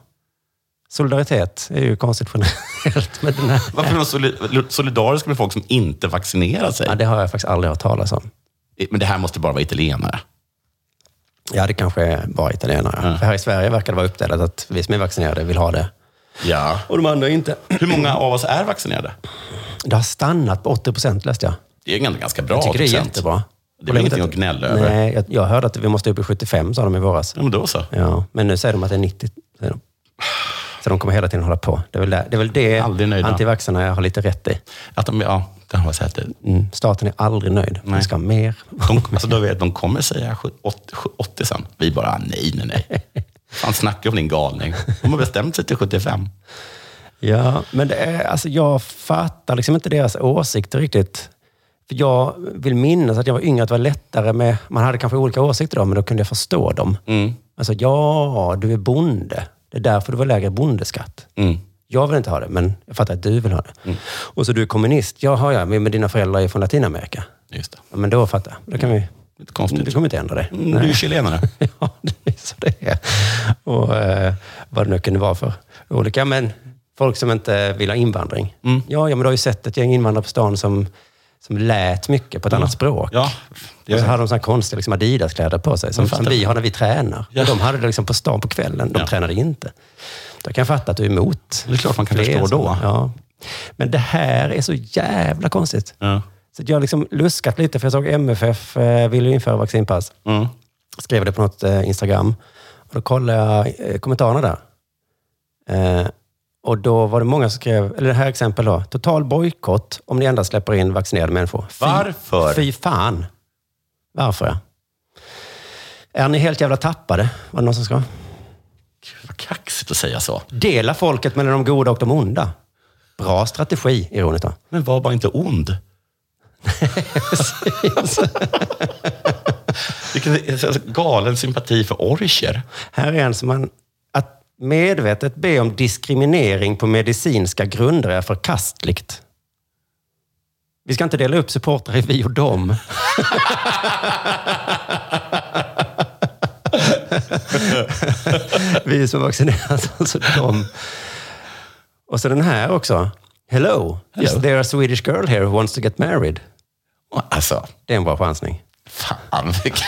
Speaker 4: Solidaritet är ju konstigt generellt. Men den här,
Speaker 7: Varför är de soli- solidariska med folk som inte vaccinerar sig? Eh,
Speaker 4: ja, det har jag faktiskt aldrig hört talas om.
Speaker 7: Men det här måste bara vara italienare.
Speaker 4: Ja, det kanske var italienare. För här i Sverige verkar det vara uppdelat att vi som är vaccinerade vill ha det.
Speaker 7: Ja.
Speaker 4: Och de andra inte.
Speaker 7: Hur många av oss är vaccinerade?
Speaker 4: Det har stannat på 80 procent läste jag.
Speaker 7: Det är ganska, ganska bra.
Speaker 4: Jag tycker det är
Speaker 7: procent.
Speaker 4: jättebra.
Speaker 7: Det är väl ingenting att gnälla över?
Speaker 4: Nej, jag, jag hörde att vi måste upp i 75, sa de i våras.
Speaker 7: Ja, men då så.
Speaker 4: Ja, men nu säger de att det är 90. Säger de. Så de kommer hela tiden hålla på. Det är väl det, det, är väl det
Speaker 7: Aldrig nöjda.
Speaker 4: antivaxxarna har lite rätt i.
Speaker 7: Att de, ja, det har jag sett. det.
Speaker 4: Mm. Staten är aldrig nöjd. De
Speaker 7: Nej.
Speaker 4: ska ha mer.
Speaker 7: De, alltså, då vet, de kommer säga 80, 80 sen. Vi "Ah, bara, nej, nej, nej. Fan, snackar om din galning. De har bestämt sig till 75.
Speaker 4: Ja, men det är, alltså, jag fattar liksom inte deras åsikter riktigt. För jag vill minnas att jag var yngre, att det var lättare med... Man hade kanske olika åsikter då, men då kunde jag förstå dem. Mm. Alltså, ja, du är bonde. Det är därför du var lägre bondeskatt.
Speaker 6: Mm.
Speaker 4: Jag vill inte ha det, men jag fattar att du vill ha det. Och så du är kommunist. Jaha, ja, men dina föräldrar är från Latinamerika.
Speaker 6: Just det.
Speaker 4: Ja, men då fattar jag. Då kan vi...
Speaker 6: Lite konstigt.
Speaker 4: Du kommer inte ändra det.
Speaker 6: Mm, Du är chilenare.
Speaker 4: Ja, det är så det är. Och eh, vad det nu kunde vara för olika. Men folk som inte vill ha invandring.
Speaker 6: Mm.
Speaker 4: Ja, ja, men du har ju sett ett gäng invandrare på stan som, som lät mycket på ett annat språk.
Speaker 6: Mm. Ja, det är
Speaker 4: Då
Speaker 6: sant.
Speaker 4: hade de sådana konstiga liksom Adidas-kläder på sig, som, som vi har när vi tränar.
Speaker 6: Ja.
Speaker 4: Och De hade det liksom på stan på kvällen. De
Speaker 6: Ja.
Speaker 4: tränade inte. Då kan jag fatta att du är emot.
Speaker 6: Det är klart man kan
Speaker 4: För det är
Speaker 6: förstå
Speaker 4: så.
Speaker 6: då.
Speaker 4: Ja. Men det här är så jävla konstigt.
Speaker 6: Ja.
Speaker 4: Så att jag har liksom luskat lite, för jag såg MFF eh, ville ju införa vaccinpass.
Speaker 6: Mm.
Speaker 4: Skrev det på något eh, Instagram. Och då kollade jag eh, kommentarerna där. Eh, och då var det många som skrev, eller det här exempel då. Total bojkott om ni endast släpper in vaccinerade människor. Fy,
Speaker 6: Varför?
Speaker 4: Fy fan. Varför ja. Är ni helt jävla tappade? Var det någon som skrev?
Speaker 6: Vad kaxigt att säga så.
Speaker 4: Dela folket mellan de goda och de onda. Bra strategi, ironiskt då.
Speaker 6: Men var bara inte ond. Vilken alltså, galen sympati för orcher.
Speaker 4: Här är en som man... Att medvetet be om diskriminering på medicinska grunder är förkastligt. Vi ska inte dela upp supportrar i vi och dem. vi som vaccineras, alltså dem. Och så den här också. Hello, is there a Swedish girl here who wants to get married?
Speaker 6: Alltså,
Speaker 4: Det är en bra chansning.
Speaker 6: fan vilken...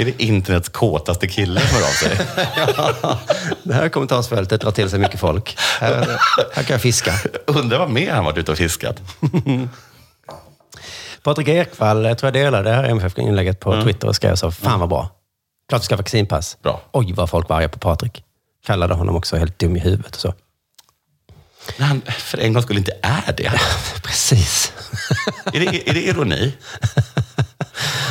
Speaker 6: Är det internets kåtaste kille som hör av sig?
Speaker 4: Det här kommentarsfältet drar till sig mycket folk. Här, här kan jag fiska.
Speaker 6: Undrar vad mer han varit ute och fiskat.
Speaker 4: Patrik Ekwall, jag tror jag delade det här MFF-inlägget på Twitter och skrev så, fan vad bra. Klart du ska ha vaccinpass.
Speaker 6: Bra.
Speaker 4: Oj, vad folk var arga på Patrik. Kallade honom också helt dum i huvudet och så.
Speaker 6: När han för en gång skulle inte är det.
Speaker 4: Precis.
Speaker 6: Är det, är det ironi?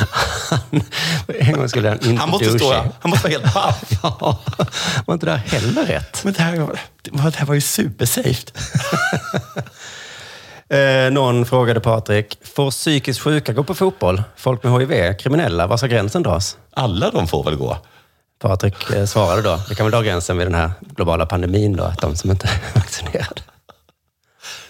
Speaker 4: en gång skulle han inte
Speaker 6: Han måste, stå,
Speaker 4: douche.
Speaker 6: han måste vara helt paff.
Speaker 4: Ja, var inte det här heller rätt?
Speaker 6: Men det här, var- det var- det här var ju supersafe.
Speaker 4: Eh, någon frågade Patrik, får psykiskt sjuka gå på fotboll? Folk med HIV, kriminella, var ska gränsen dras?
Speaker 6: Alla de får väl gå?
Speaker 4: Patrik eh, svarade då, vi kan väl dra gränsen vid den här globala pandemin då, att de som inte är vaccinerade.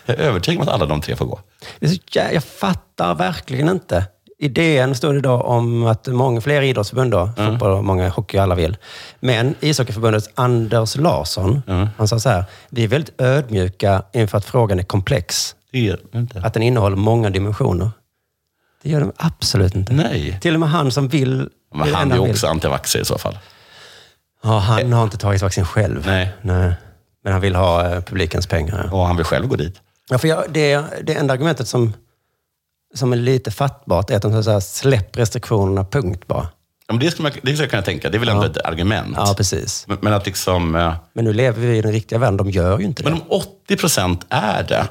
Speaker 6: Jag är övertygad om att alla de tre får gå.
Speaker 4: Det är så jä- jag fattar verkligen inte. I DN står det då om att många fler idrottsförbund, då,
Speaker 6: Mm.
Speaker 4: fotboll och många hockey, alla vill. Men ishockeyförbundets Anders Larsson,
Speaker 6: Mm.
Speaker 4: han sa så här, vi är väldigt ödmjuka inför att frågan är komplex.
Speaker 6: Det är inte.
Speaker 4: Att den innehåller många dimensioner. Det gör den absolut inte.
Speaker 6: Nej.
Speaker 4: Till och med han som vill...
Speaker 6: Men
Speaker 4: vill
Speaker 6: han är
Speaker 4: ändå
Speaker 6: ju
Speaker 4: vill.
Speaker 6: också antivaxxer i så fall.
Speaker 4: Ja, han har inte tagit vaccin själv.
Speaker 6: Nej.
Speaker 4: Nej. Men han vill ha eh, publikens pengar. Ja.
Speaker 6: Och han vill själv gå dit.
Speaker 4: Ja, för jag, det, det enda argumentet som, som är lite fattbart är att de säger så här, släpp restriktionerna, punkt bara.
Speaker 6: Ja, men det skulle, man, det skulle jag kunna tänka. Det är väl ändå ett argument.
Speaker 4: Ja, precis.
Speaker 6: Men, men att liksom... eh,
Speaker 4: Men nu lever vi i den riktiga världen, de gör ju inte det.
Speaker 6: Men om 80 procent är det.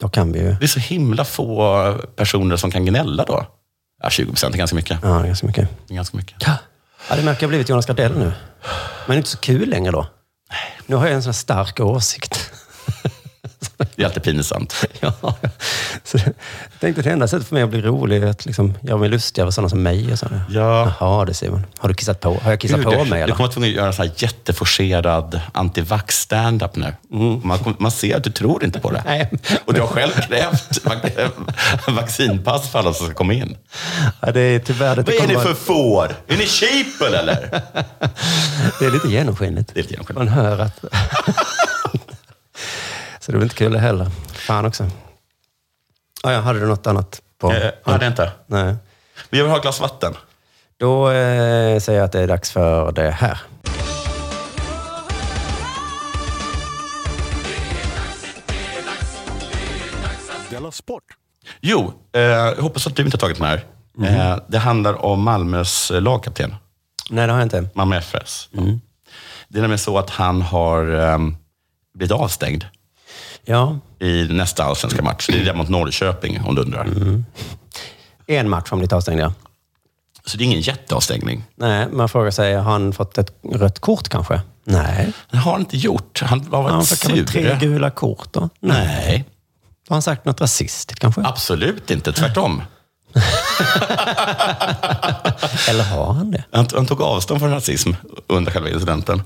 Speaker 4: Då kan vi ju...
Speaker 6: Det är så himla få personer som kan gnälla då. Ja, 20 procent är ganska mycket.
Speaker 4: Ja, det är ganska mycket.
Speaker 6: Det är Ganska mycket.
Speaker 4: Ja, det märker jag blivit Jonas Gardell nu. Men det är inte så kul längre då. Nu har jag en sån här stark åsikt.
Speaker 6: Det är alltid pinsamt.
Speaker 4: ja. Så jag tänkte att det enda sättet för mig att bli rolig är att liksom, göra mig lustig över sådana som mig. Och sådär.
Speaker 6: Ja.
Speaker 4: Jaha, det ser man. Har du kissat på? Har jag kissat
Speaker 6: Gud,
Speaker 4: på
Speaker 6: du-
Speaker 4: mig
Speaker 6: Du
Speaker 4: eller?
Speaker 6: kommer vara tvungen att göra en sån här jätteforcerad antivax standup nu. Man, kommer- man ser att du tror inte på det.
Speaker 4: Nej.
Speaker 6: Och du har själv krävt vac- vaccinpass för alla som ska komma in.
Speaker 4: Ja, det är tyvärr... Det,
Speaker 6: Vad är
Speaker 4: kommer
Speaker 6: ni
Speaker 4: vara-
Speaker 6: för får? Är ni sheeple eller?
Speaker 4: det är lite genomskinligt.
Speaker 6: Det är lite genomskinligt.
Speaker 4: Man hör att... så det var inte kul det heller. Fan också. Ah, Ja, ja, hade du något annat? på?
Speaker 6: Eh, nej, det är inte.
Speaker 4: Nej.
Speaker 6: Vi vill ha ett glas vatten.
Speaker 4: Då eh, säger jag att det är dags för det här.
Speaker 8: Della Sport.
Speaker 6: Jo, eh, jag hoppas att du inte har tagit den här.
Speaker 4: Mhm.
Speaker 6: Eh, det handlar om Malmös eh, lagkapten.
Speaker 4: Nej, det har jag inte. Mm.
Speaker 6: Malmö FS. Det är nämligen så att han har ehm, blivit avstängd
Speaker 4: Ja,
Speaker 6: i nästa allsvenska match. Det är där mot Norrköping, om du undrar.
Speaker 4: en match om ditt avstängd, ja. Så det är ingen jätteavstängning.
Speaker 6: Nej, man frågar sig, har han fått ett rött kort kanske? Nej.
Speaker 4: Det har han inte gjort. Han var
Speaker 6: Han
Speaker 4: varit
Speaker 6: fick kanske
Speaker 4: sur.
Speaker 6: tre gula kort då?
Speaker 4: Nej,
Speaker 6: Har han sagt något rasistiskt kanske?
Speaker 4: absolut inte. Tvärtom.
Speaker 6: Eller har han det?
Speaker 4: Han, han tog avstånd från rasism under själva incidenten.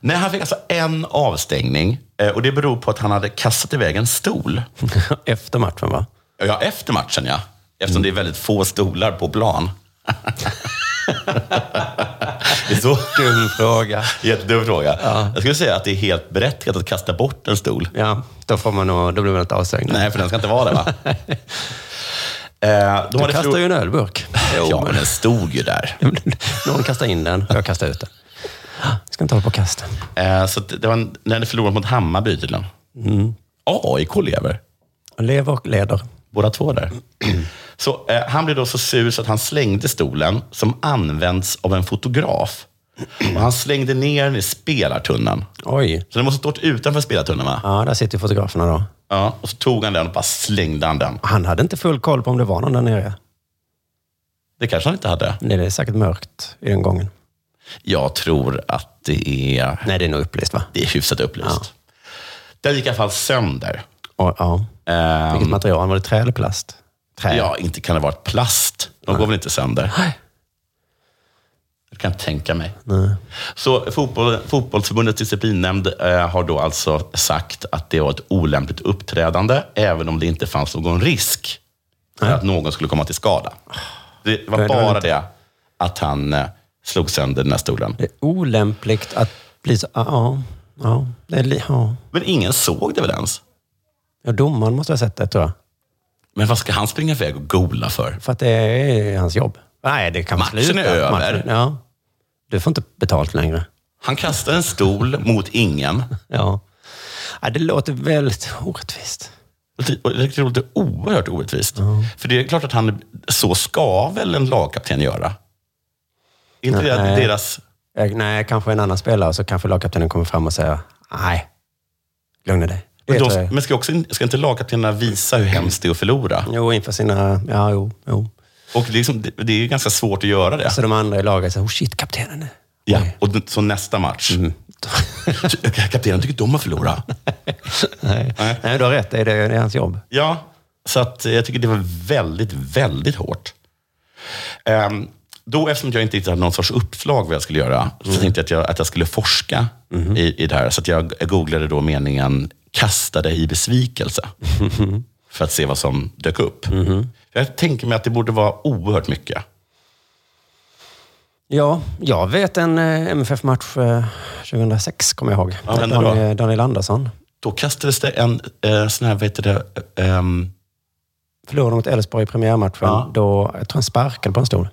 Speaker 4: Nej, han fick alltså en avstängning. eh, Och det beror på att han hade kastat iväg en stol.
Speaker 6: Efter matchen va?
Speaker 4: Ja, efter matchen ja. Eftersom det är väldigt få stolar på plan. det är så
Speaker 6: Dum fråga.
Speaker 4: jättedum fråga. Jag skulle säga att det är helt berättigat att kasta bort en stol.
Speaker 6: Ja, då, får man nog, då blir man inte avstängd.
Speaker 4: Nej, för den ska inte vara där va? Eh, de
Speaker 6: Du
Speaker 4: hade
Speaker 6: kastar
Speaker 4: förlor-
Speaker 6: ju en ölburk.
Speaker 4: Ja, men den stod ju där.
Speaker 6: Någon kastade in den och jag kastade ut den. Jag ska inte hålla på och kasta.
Speaker 4: Eh, så att det var en, den hade förlorat mot Hammarby tydligen. AIK lever.
Speaker 6: Mm. Lever och leder.
Speaker 4: Båda två där. Så eh, han blev då så sur så att han slängde stolen som används av en fotograf. Och han slängde ner den i spelartunneln.
Speaker 6: Oj.
Speaker 4: Så den måste ha stått utanför spelartunneln va?
Speaker 6: Ja, där sitter ju fotograferna då.
Speaker 4: Ja, och så tog han den och bara slängde han den.
Speaker 6: Han hade inte full koll på om det var någon där nere.
Speaker 4: Det kanske han inte hade.
Speaker 6: Det är säkert mörkt i den gången.
Speaker 4: Jag tror att det är,
Speaker 6: Nej, det är nog upplyst va?
Speaker 4: det är hyfsat upplyst. Den gick i alla fall sönder.
Speaker 6: Och, ja.
Speaker 4: Ehm,
Speaker 6: Vilket material? Var det trä eller plast? Trä.
Speaker 4: Ja, inte kan det vara ett plast. De går väl inte sönder? Det kan jag tänka mig. Så fotboll, Fotbollsförbundets disciplinnämnd eh, har då alltså sagt att det var ett olämpligt uppträdande, även om det inte fanns någon risk för att någon skulle komma till skada. Det var
Speaker 6: Nej, det var
Speaker 4: bara
Speaker 6: inte.
Speaker 4: det att han eh, slog sönder den här stolen.
Speaker 6: Det är olämpligt att bli så... Ja, ja. ja, det är li- ja.
Speaker 4: Men ingen såg det väl ens?
Speaker 6: ja domaren måste ha sett det tror jag.
Speaker 4: Men vad ska han springa iväg och gola för?
Speaker 6: För att det är hans jobb. Nej, det kan
Speaker 4: Matchen är
Speaker 6: sluta.
Speaker 4: över.
Speaker 6: Ja. Du får inte betalt längre.
Speaker 4: Han kastar en stol mot ingen.
Speaker 6: Ja. ja det låter väldigt orättvist.
Speaker 4: Och Det och det låter oerhört orättvist. För det är klart att han, så ska väl en lagkapten göra? Inte det att
Speaker 6: Nej.
Speaker 4: deras...
Speaker 6: Jag, nej, kanske en annan spelare, så kanske lagkaptenen kommer fram och säger nej, lugna dig. Det
Speaker 4: Men,
Speaker 6: tror
Speaker 4: de,
Speaker 6: jag.
Speaker 4: men ska, också, ska inte lagkaptenerna visa hur hemskt det är att förlora?
Speaker 6: Jo, inför sina... Ja, jo, jo.
Speaker 4: Och det är, liksom, det, det är ju ganska svårt att göra det.
Speaker 6: Så de andra i laget säger, oh shit, kaptenen. Mm.
Speaker 4: ja. Och d- så nästa match. Ty- Kaptenen tycker de har förlorat.
Speaker 6: Nej.
Speaker 4: Nej.
Speaker 6: nej, du har rätt. Det är, det, det är hans jobb.
Speaker 4: Ja, så att eh, jag tycker det var väldigt, väldigt hårt. Ehm, då, eftersom jag inte riktigt hade någon sorts uppslag vad jag skulle göra,
Speaker 6: Mm.
Speaker 4: så tänkte jag att jag, att jag skulle forska
Speaker 6: Mm-hmm.
Speaker 4: i, i det här. Så att jag googlade då meningen kasta dig i besvikelse.
Speaker 6: Mm-hmm.
Speaker 4: För att se vad som dök upp. Jag tänker mig att det borde vara oerhört mycket.
Speaker 6: Ja, jag vet en eh, MFF-match eh, 2006, kommer jag ihåg.
Speaker 4: Ja, vem då?
Speaker 6: Daniel, Daniel Andersson.
Speaker 4: Då kastades det en eh, sån här, vad heter det, eh, ehm,
Speaker 6: Förlorade mot Elfsborg i premiärmatchen.
Speaker 4: Ja.
Speaker 6: Då, jag tror han sparkade på en stol.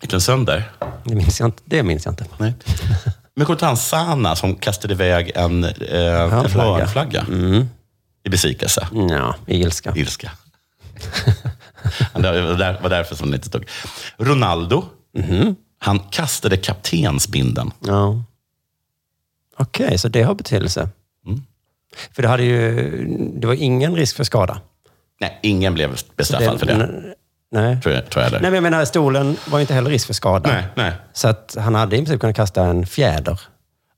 Speaker 4: gick den sönder?
Speaker 6: Det minns jag inte. Det minns jag inte.
Speaker 4: Nej. Men kommer du ihåg han Sana som kastade iväg en, eh, en
Speaker 6: flagga.
Speaker 4: hörnflagga? I besvikelse.
Speaker 6: Mm. Ja, i ilska.
Speaker 4: ilska. det var där- var därför som det inte stod. Ronaldo,
Speaker 6: Mhm.
Speaker 4: han kastade kaptensbindeln.
Speaker 6: Ja. Okej, så det har betydelse.
Speaker 4: Mm.
Speaker 6: För det, hade ju, det var ingen risk för skada.
Speaker 4: Nej, ingen blev bestraffad för det.
Speaker 6: n- Nej.
Speaker 4: Tror jag, tror jag
Speaker 6: Nej,
Speaker 4: eller?
Speaker 6: men jag menar, stolen var ju inte heller risk för skada.
Speaker 4: Nej, nej.
Speaker 6: Så att han hade i princip kunnat kasta en fjäder. Mm.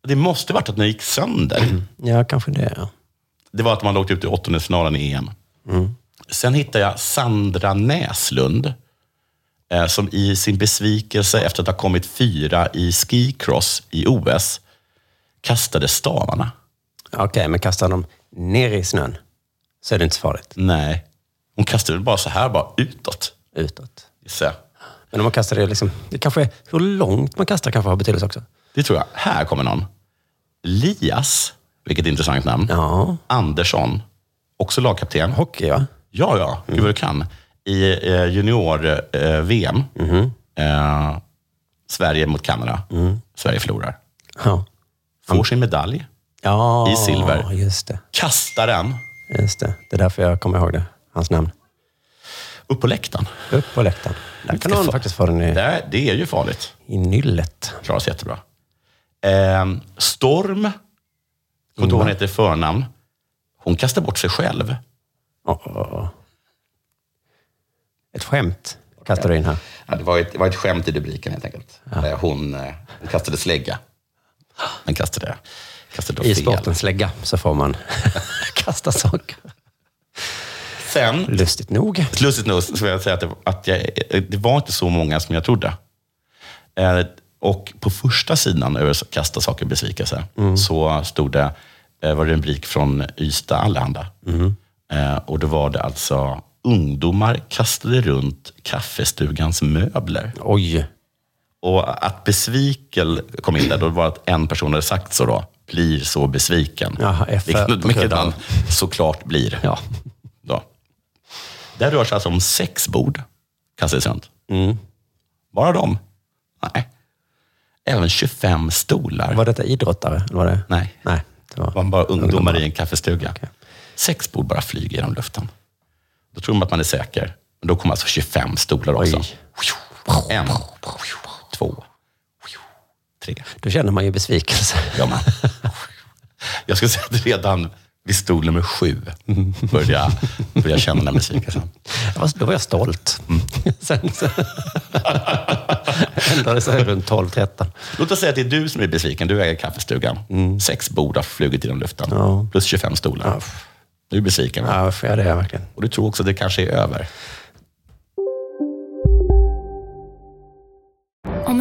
Speaker 4: Det måste varit att den gick sönder.
Speaker 6: Ja, kanske det. Ja.
Speaker 4: Det var att man åkte ut i åttondelsfinalen i EM.
Speaker 6: Mm.
Speaker 4: Sen hittade jag Sandra Näslund. eh, Som i sin besvikelse efter att ha kommit fyra i skicross i OS kastade stavarna.
Speaker 6: Okej, men kastar de ner i snön så är det inte så farligt.
Speaker 4: Nej, hon kastade väl bara så här, bara utåt.
Speaker 6: Utåt.
Speaker 4: gissar jag.
Speaker 6: Men om man kastar det liksom... Det kanske är, hur långt man kastar kanske har betydelse också.
Speaker 4: Det tror jag. Här kommer någon. Lias, vilket intressant namn.
Speaker 6: Ja.
Speaker 4: Andersson, också lagkapten.
Speaker 6: Hockey, va?
Speaker 4: Ja, ja, gud vad du kan. I eh, junior-VM,
Speaker 6: Mhm.
Speaker 4: eh, Sverige mot Kanada. Sverige förlorar.
Speaker 6: Ja.
Speaker 4: Får sin medalj,
Speaker 6: ja.
Speaker 4: I silver.
Speaker 6: Just det.
Speaker 4: kastar den
Speaker 6: Just det. Det är därför jag kommer ihåg det. Hans namn.
Speaker 4: upp på läktaren.
Speaker 6: Upp på läktaren. Där kan någon faktiskt få den i,
Speaker 4: Det, det är ju farligt.
Speaker 6: i nyllet.
Speaker 4: Klarar sig jättebra. Eh, Storm, kommer inte ihåg vad hon heter i förnamn. Hon kastar bort sig själv.
Speaker 6: Åh, åh, åh. Ett skämt kastar du in här.
Speaker 4: Ja, det, var ett, det var ett skämt i rubriken helt enkelt. Där Hon, eh, hon kastade slägga. Men kastade, kastade då
Speaker 6: I
Speaker 4: fel.
Speaker 6: sportens slägga så får man kasta saker.
Speaker 4: Sen,
Speaker 6: Lustigt nog.
Speaker 4: lustigt nog, så vill jag säga att, det, att jag, det var inte så många som jag trodde. Eh, och på första sidan över Kasta saker besvikelse
Speaker 6: Mm.
Speaker 4: så stod det, eh, var det en rubrik från Ystad Allehanda.
Speaker 6: Mm.
Speaker 4: Eh, och då var det alltså ungdomar kastade runt kaffestugans möbler.
Speaker 6: Oj.
Speaker 4: Och att besvikel kom in där, då var det att en person hade sagt så då, blir så besviken.
Speaker 6: Jaha, F på
Speaker 4: vilket, vilket
Speaker 6: kudden.
Speaker 4: man såklart blir.
Speaker 6: Ja.
Speaker 4: Då. Det rör sig alltså om sex bord, kastades runt.
Speaker 6: Mm.
Speaker 4: Bara de? Nej. Även 25 stolar.
Speaker 6: Var detta idrottare? Eller var det?
Speaker 4: Nej.
Speaker 6: Nej. Det var...
Speaker 4: Det var bara ungdomar, i en kaffestuga. Sex bord bara flyger genom luften. Då tror man att man är säker. Men då kommer alltså 25 stolar också.
Speaker 6: Oj.
Speaker 4: En, två, tre.
Speaker 6: Då känner man ju besvikelse.
Speaker 4: Ja, man. Jag skulle säga att redan vid stol nummer sju började jag, började jag känna den här Mm. besvikelsen.
Speaker 6: Jag var- Då var jag stolt. Sen så ändrade det sig runt 12-13.
Speaker 4: Låt oss säga att det är du som är besviken. Du äger kaffestugan. Sex bord har flugit genom luften.
Speaker 6: Mm. Ja.
Speaker 4: Plus 25 stolar. Du är besviken. va?
Speaker 6: Ja, varför är det är verkligen?
Speaker 4: Och du tror också att det kanske är över.
Speaker 5: Om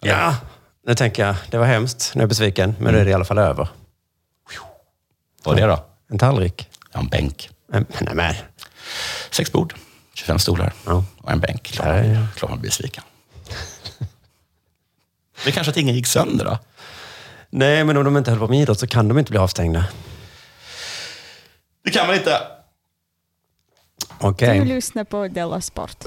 Speaker 6: Ja, nu tänker jag, det var hemskt. Nu är jag besviken, men nu är det i alla fall över.
Speaker 4: Vad är det då?
Speaker 6: En tallrik.
Speaker 4: Ja, en bänk.
Speaker 6: Men, nej, men.
Speaker 4: Sex bord, 25 stolar
Speaker 6: Ja.
Speaker 4: och en bänk. Klart
Speaker 6: Ja, ja.
Speaker 4: klart man blir besviken. Det är kanske att ingen gick sönder då?
Speaker 6: nej, men om de inte höll på med idrott så kan de inte bli avstängda.
Speaker 4: Det kan man inte.
Speaker 6: Okej.
Speaker 9: lyssnar på Della Sport.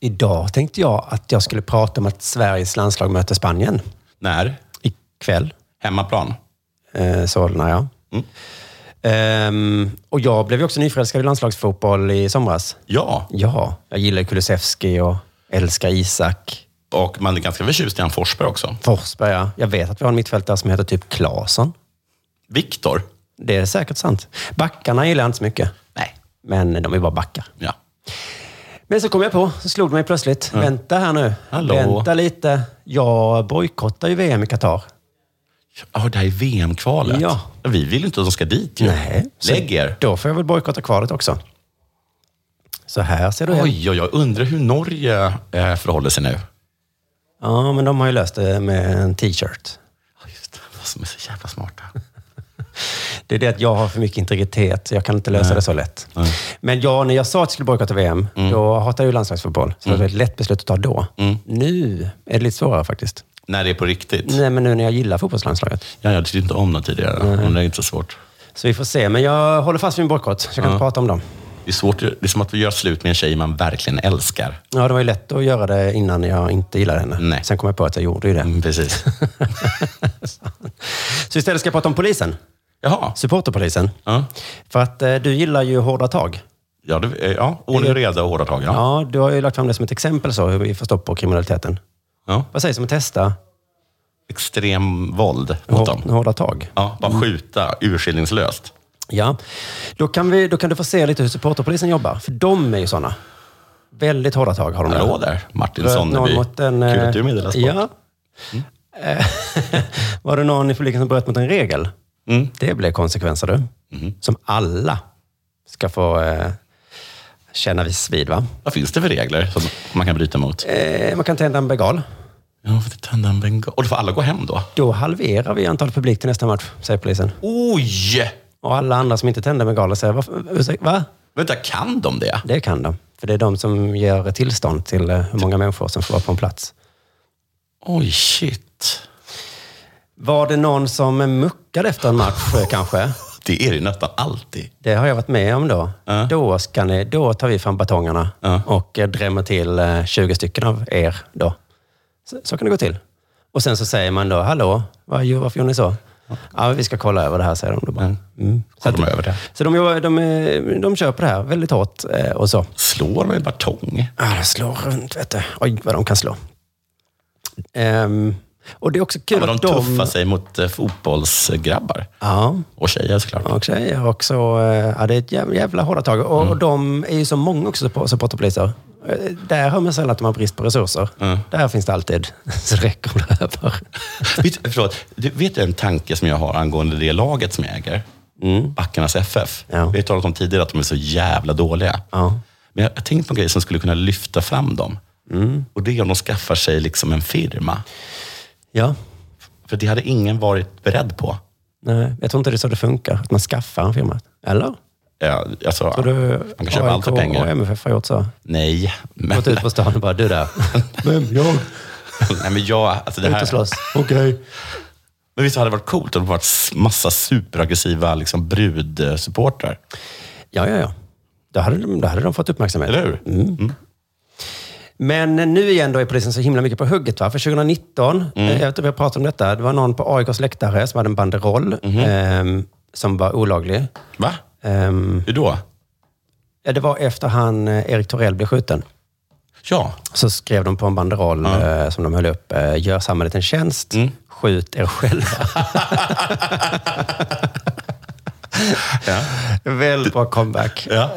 Speaker 6: Idag tänkte jag att jag skulle prata om att Sveriges landslag möter Spanien
Speaker 4: När?
Speaker 6: ikväll.
Speaker 4: Hemmaplan. Mm.
Speaker 6: Eh, Solna, ja. Ehm, och jag blev ju också nyförälskad i landslagsfotboll i somras.
Speaker 4: Ja,
Speaker 6: Ja, jag gillar ju Kulusevski och älskar Isak.
Speaker 4: och man är ganska förtjust i han Forsberg också.
Speaker 6: Forsberg, ja. Jag vet att vi har en mittfältare som heter typ Claesson.
Speaker 4: Viktor?
Speaker 6: Det är säkert sant. Backarna gillar jag inte så mycket.
Speaker 4: Nej.
Speaker 6: Men de är bara backar.
Speaker 4: Ja.
Speaker 6: Men så kom jag på, så slog det mig plötsligt. Vänta här nu.
Speaker 4: Hallå.
Speaker 6: Vänta lite. Jag bojkottar ju VM i Qatar.
Speaker 4: Ja, det här är VM-kvalet.
Speaker 6: Ja.
Speaker 4: Vi vill inte att de ska dit ju.
Speaker 6: Nej. Så
Speaker 4: Lägg er.
Speaker 6: Då får jag väl bojkotta kvalet också. Så här ser du ut.
Speaker 4: Oj, oj, oj. Undrar hur Norge eh, förhåller sig nu.
Speaker 6: Ja, men de har ju löst det med en t-shirt.
Speaker 4: Ja, just det. De är så jävla smarta.
Speaker 6: Det är det att jag har för mycket integritet. Jag kan inte lösa det så lätt. Men ja, när jag sa att jag skulle bojkotta VM, då hatade jag ju landslagsfotboll. Så det var ett lätt beslut att ta då. Nu är det lite svårare faktiskt.
Speaker 4: När det är på riktigt.
Speaker 6: Nej, men nu när jag gillar fotbollslandslaget.
Speaker 4: Ja, jag tyckte inte om dem tidigare. Men det är inte så svårt.
Speaker 6: Så vi får se. Men jag håller fast vid min bojkott, så jag kan prata om dem.
Speaker 4: Det är, svårt, det är som att vi gör slut med en tjej man verkligen älskar.
Speaker 6: Ja, det var ju lätt att göra det innan jag inte gillade henne.
Speaker 4: Nej.
Speaker 6: Sen kom jag på att jag gjorde ju det.
Speaker 4: Mm, precis.
Speaker 6: Så istället ska jag prata om polisen.
Speaker 4: Jaha.
Speaker 6: Supporterpolisen.
Speaker 4: Ja,
Speaker 6: För att eh, du gillar ju hårda tag.
Speaker 4: ja, det, eh, ja ordning och reda och hårda tag. Ja.
Speaker 6: Ja, du har ju lagt fram det som ett exempel så, hur vi får stopp på kriminaliteten.
Speaker 4: Ja.
Speaker 6: Vad sägs om att testa
Speaker 4: Extrem våld mot
Speaker 6: hår,
Speaker 4: dem.
Speaker 6: hårda tag?
Speaker 4: Ja, bara skjuta urskillningslöst.
Speaker 6: Mm. Ja. Då kan, vi, då kan du få se lite hur supporterpolisen jobbar. För de är ju sådana. Väldigt hårda tag har de
Speaker 4: Hallå där, Martin
Speaker 6: Bröt någon
Speaker 4: Sonneby.
Speaker 6: mot en...
Speaker 4: Kul
Speaker 6: eh,
Speaker 4: att du är med i Della Sport.
Speaker 6: Ja. Eh, Var det någon i publiken som bröt mot en regel?
Speaker 4: Mm.
Speaker 6: Det blev konsekvenser du. Som alla ska få eh, känna vis vid. Va?
Speaker 4: Vad finns det för regler som man kan bryta mot?
Speaker 6: Eh, man kan tända en bengal.
Speaker 4: Ja, för att tända en bengal. Och då får alla gå hem då?
Speaker 6: Då halverar vi antalet publik till nästa match, säger polisen.
Speaker 4: Oj!
Speaker 6: Och alla andra som inte tänder bengaler säger, "Varför- ursäkta, va?
Speaker 4: Vänta, kan de det?
Speaker 6: Det kan de. För det är de som ger tillstånd till eh, hur många människor som får vara på en plats.
Speaker 4: Oj, shit.
Speaker 6: Var det någon som muckade efter en match eh, kanske?
Speaker 4: Det är det ju nästan alltid.
Speaker 6: Det har jag varit med om då. Då, ska ni, då tar vi fram batongerna och eh, drämmer till eh, 20 stycken av er. Då. Så, så kan det gå till. Och sen så säger man då, hallå, vad, gör- varför gjorde ni så? Ja, vi ska kolla över det här, säger de. Då bara. Mm. Så,
Speaker 4: Kollar de över det?
Speaker 6: så de, jobbar- de, eh, de kör på det här väldigt hårt eh, och så.
Speaker 4: Slår med batong?
Speaker 6: Ja, det slår runt, vet du. Oj, vad de kan slå. Ehm, och det är också kul
Speaker 4: Ja, men de
Speaker 6: att de...
Speaker 4: tuffar sig mot eh, fotbollsgrabbar.
Speaker 6: Ja,
Speaker 4: Och tjejer såklart.
Speaker 6: och tjejer också. eh, Ja, det är ett jävla, jävla hårda tag.
Speaker 4: Mm.
Speaker 6: Och de är ju så många också, suppo- supporterpoliser. Eh, Där hör man sällan att de har brist på resurser. Där finns det alltid så det räcker om det över.
Speaker 4: Vet, förlåt, du, vet du en tanke som jag har angående det laget som jag äger? Backarnas FF.
Speaker 6: Mm. Ja.
Speaker 4: Vi har talat om tidigare att de är så jävla dåliga.
Speaker 6: Ja.
Speaker 4: Men jag har tänkt på en grej som skulle kunna lyfta fram dem. Och det är om de skaffar sig liksom en firma.
Speaker 6: Ja,
Speaker 4: För det hade ingen varit beredd på.
Speaker 6: nej, jag tror inte det är så det funkar. Att man skaffar en firma. Eller?
Speaker 4: Ja, alltså,
Speaker 6: Tror du
Speaker 4: man kan köpa allt för
Speaker 6: AIK
Speaker 4: pengar.
Speaker 6: och MFF har gjort så?
Speaker 4: Nej, men,
Speaker 6: Gått ut på stan och bara, du där. Vem? Jag?
Speaker 4: nej, men jag... Alltså det
Speaker 6: Ut och
Speaker 4: här,
Speaker 6: slåss. Okej.
Speaker 4: men visst hade det varit coolt om det varit s- massa superaggressiva liksom, brudsupportrar?
Speaker 6: Ja, ja, ja. Då hade, de, då hade de fått uppmärksamhet.
Speaker 4: Eller hur?
Speaker 6: Mm.
Speaker 4: Mm.
Speaker 6: Men nu igen då är polisen så himla mycket på hugget. Va? För 2019,
Speaker 4: Mm.
Speaker 6: eh, jag vet inte om jag pratade om detta, det var någon på AIKs läktare som hade en banderoll
Speaker 4: Mhm.
Speaker 6: ehm, som var olaglig.
Speaker 4: Va?
Speaker 6: Ehm,
Speaker 4: Hur då?
Speaker 6: ja, det var efter han eh, Erik Torell blev skjuten.
Speaker 4: Ja,
Speaker 6: Så skrev de på en banderoll eh, som de höll upp, eh, gör samhället en tjänst, skjut er själva. Väldigt bra comeback.
Speaker 4: Ja.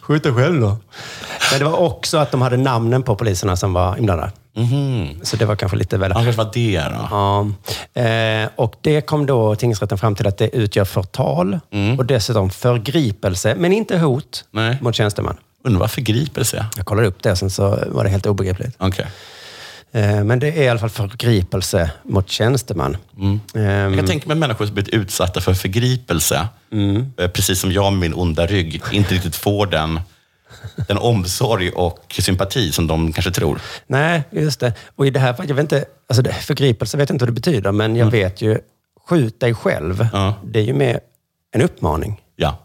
Speaker 6: Skjut dig själv då. Men det var också att de hade namnen på poliserna som var inblandade. Så det var kanske lite väl...
Speaker 4: han Mhm. kanske var det då.
Speaker 6: Ja. Eh, och det kom då tingsrätten fram till att det utgör förtal och dessutom förgripelse, men inte hot
Speaker 4: Nej.
Speaker 6: mot tjänsteman.
Speaker 4: Undrar vad förgriper sig?
Speaker 6: Jag kollade upp det, sen så var det helt obegripligt.
Speaker 4: Okej.
Speaker 6: Eh, men det är i alla fall förgripelse mot tjänsteman.
Speaker 4: Mm. Jag
Speaker 6: Ehm,
Speaker 4: kan tänka mig människor som blivit utsatta för förgripelse,
Speaker 6: Mm.
Speaker 4: eh, precis som jag med min onda rygg, inte riktigt får den, den omsorg och sympati som de kanske tror.
Speaker 6: Nej, just det. Och i det här fallet, jag vet inte, alltså det, förgripelse vet jag inte vad det betyder, men jag vet ju, skjut dig själv,
Speaker 4: Mm. Ja.
Speaker 6: det är ju mer en uppmaning.
Speaker 4: Ja.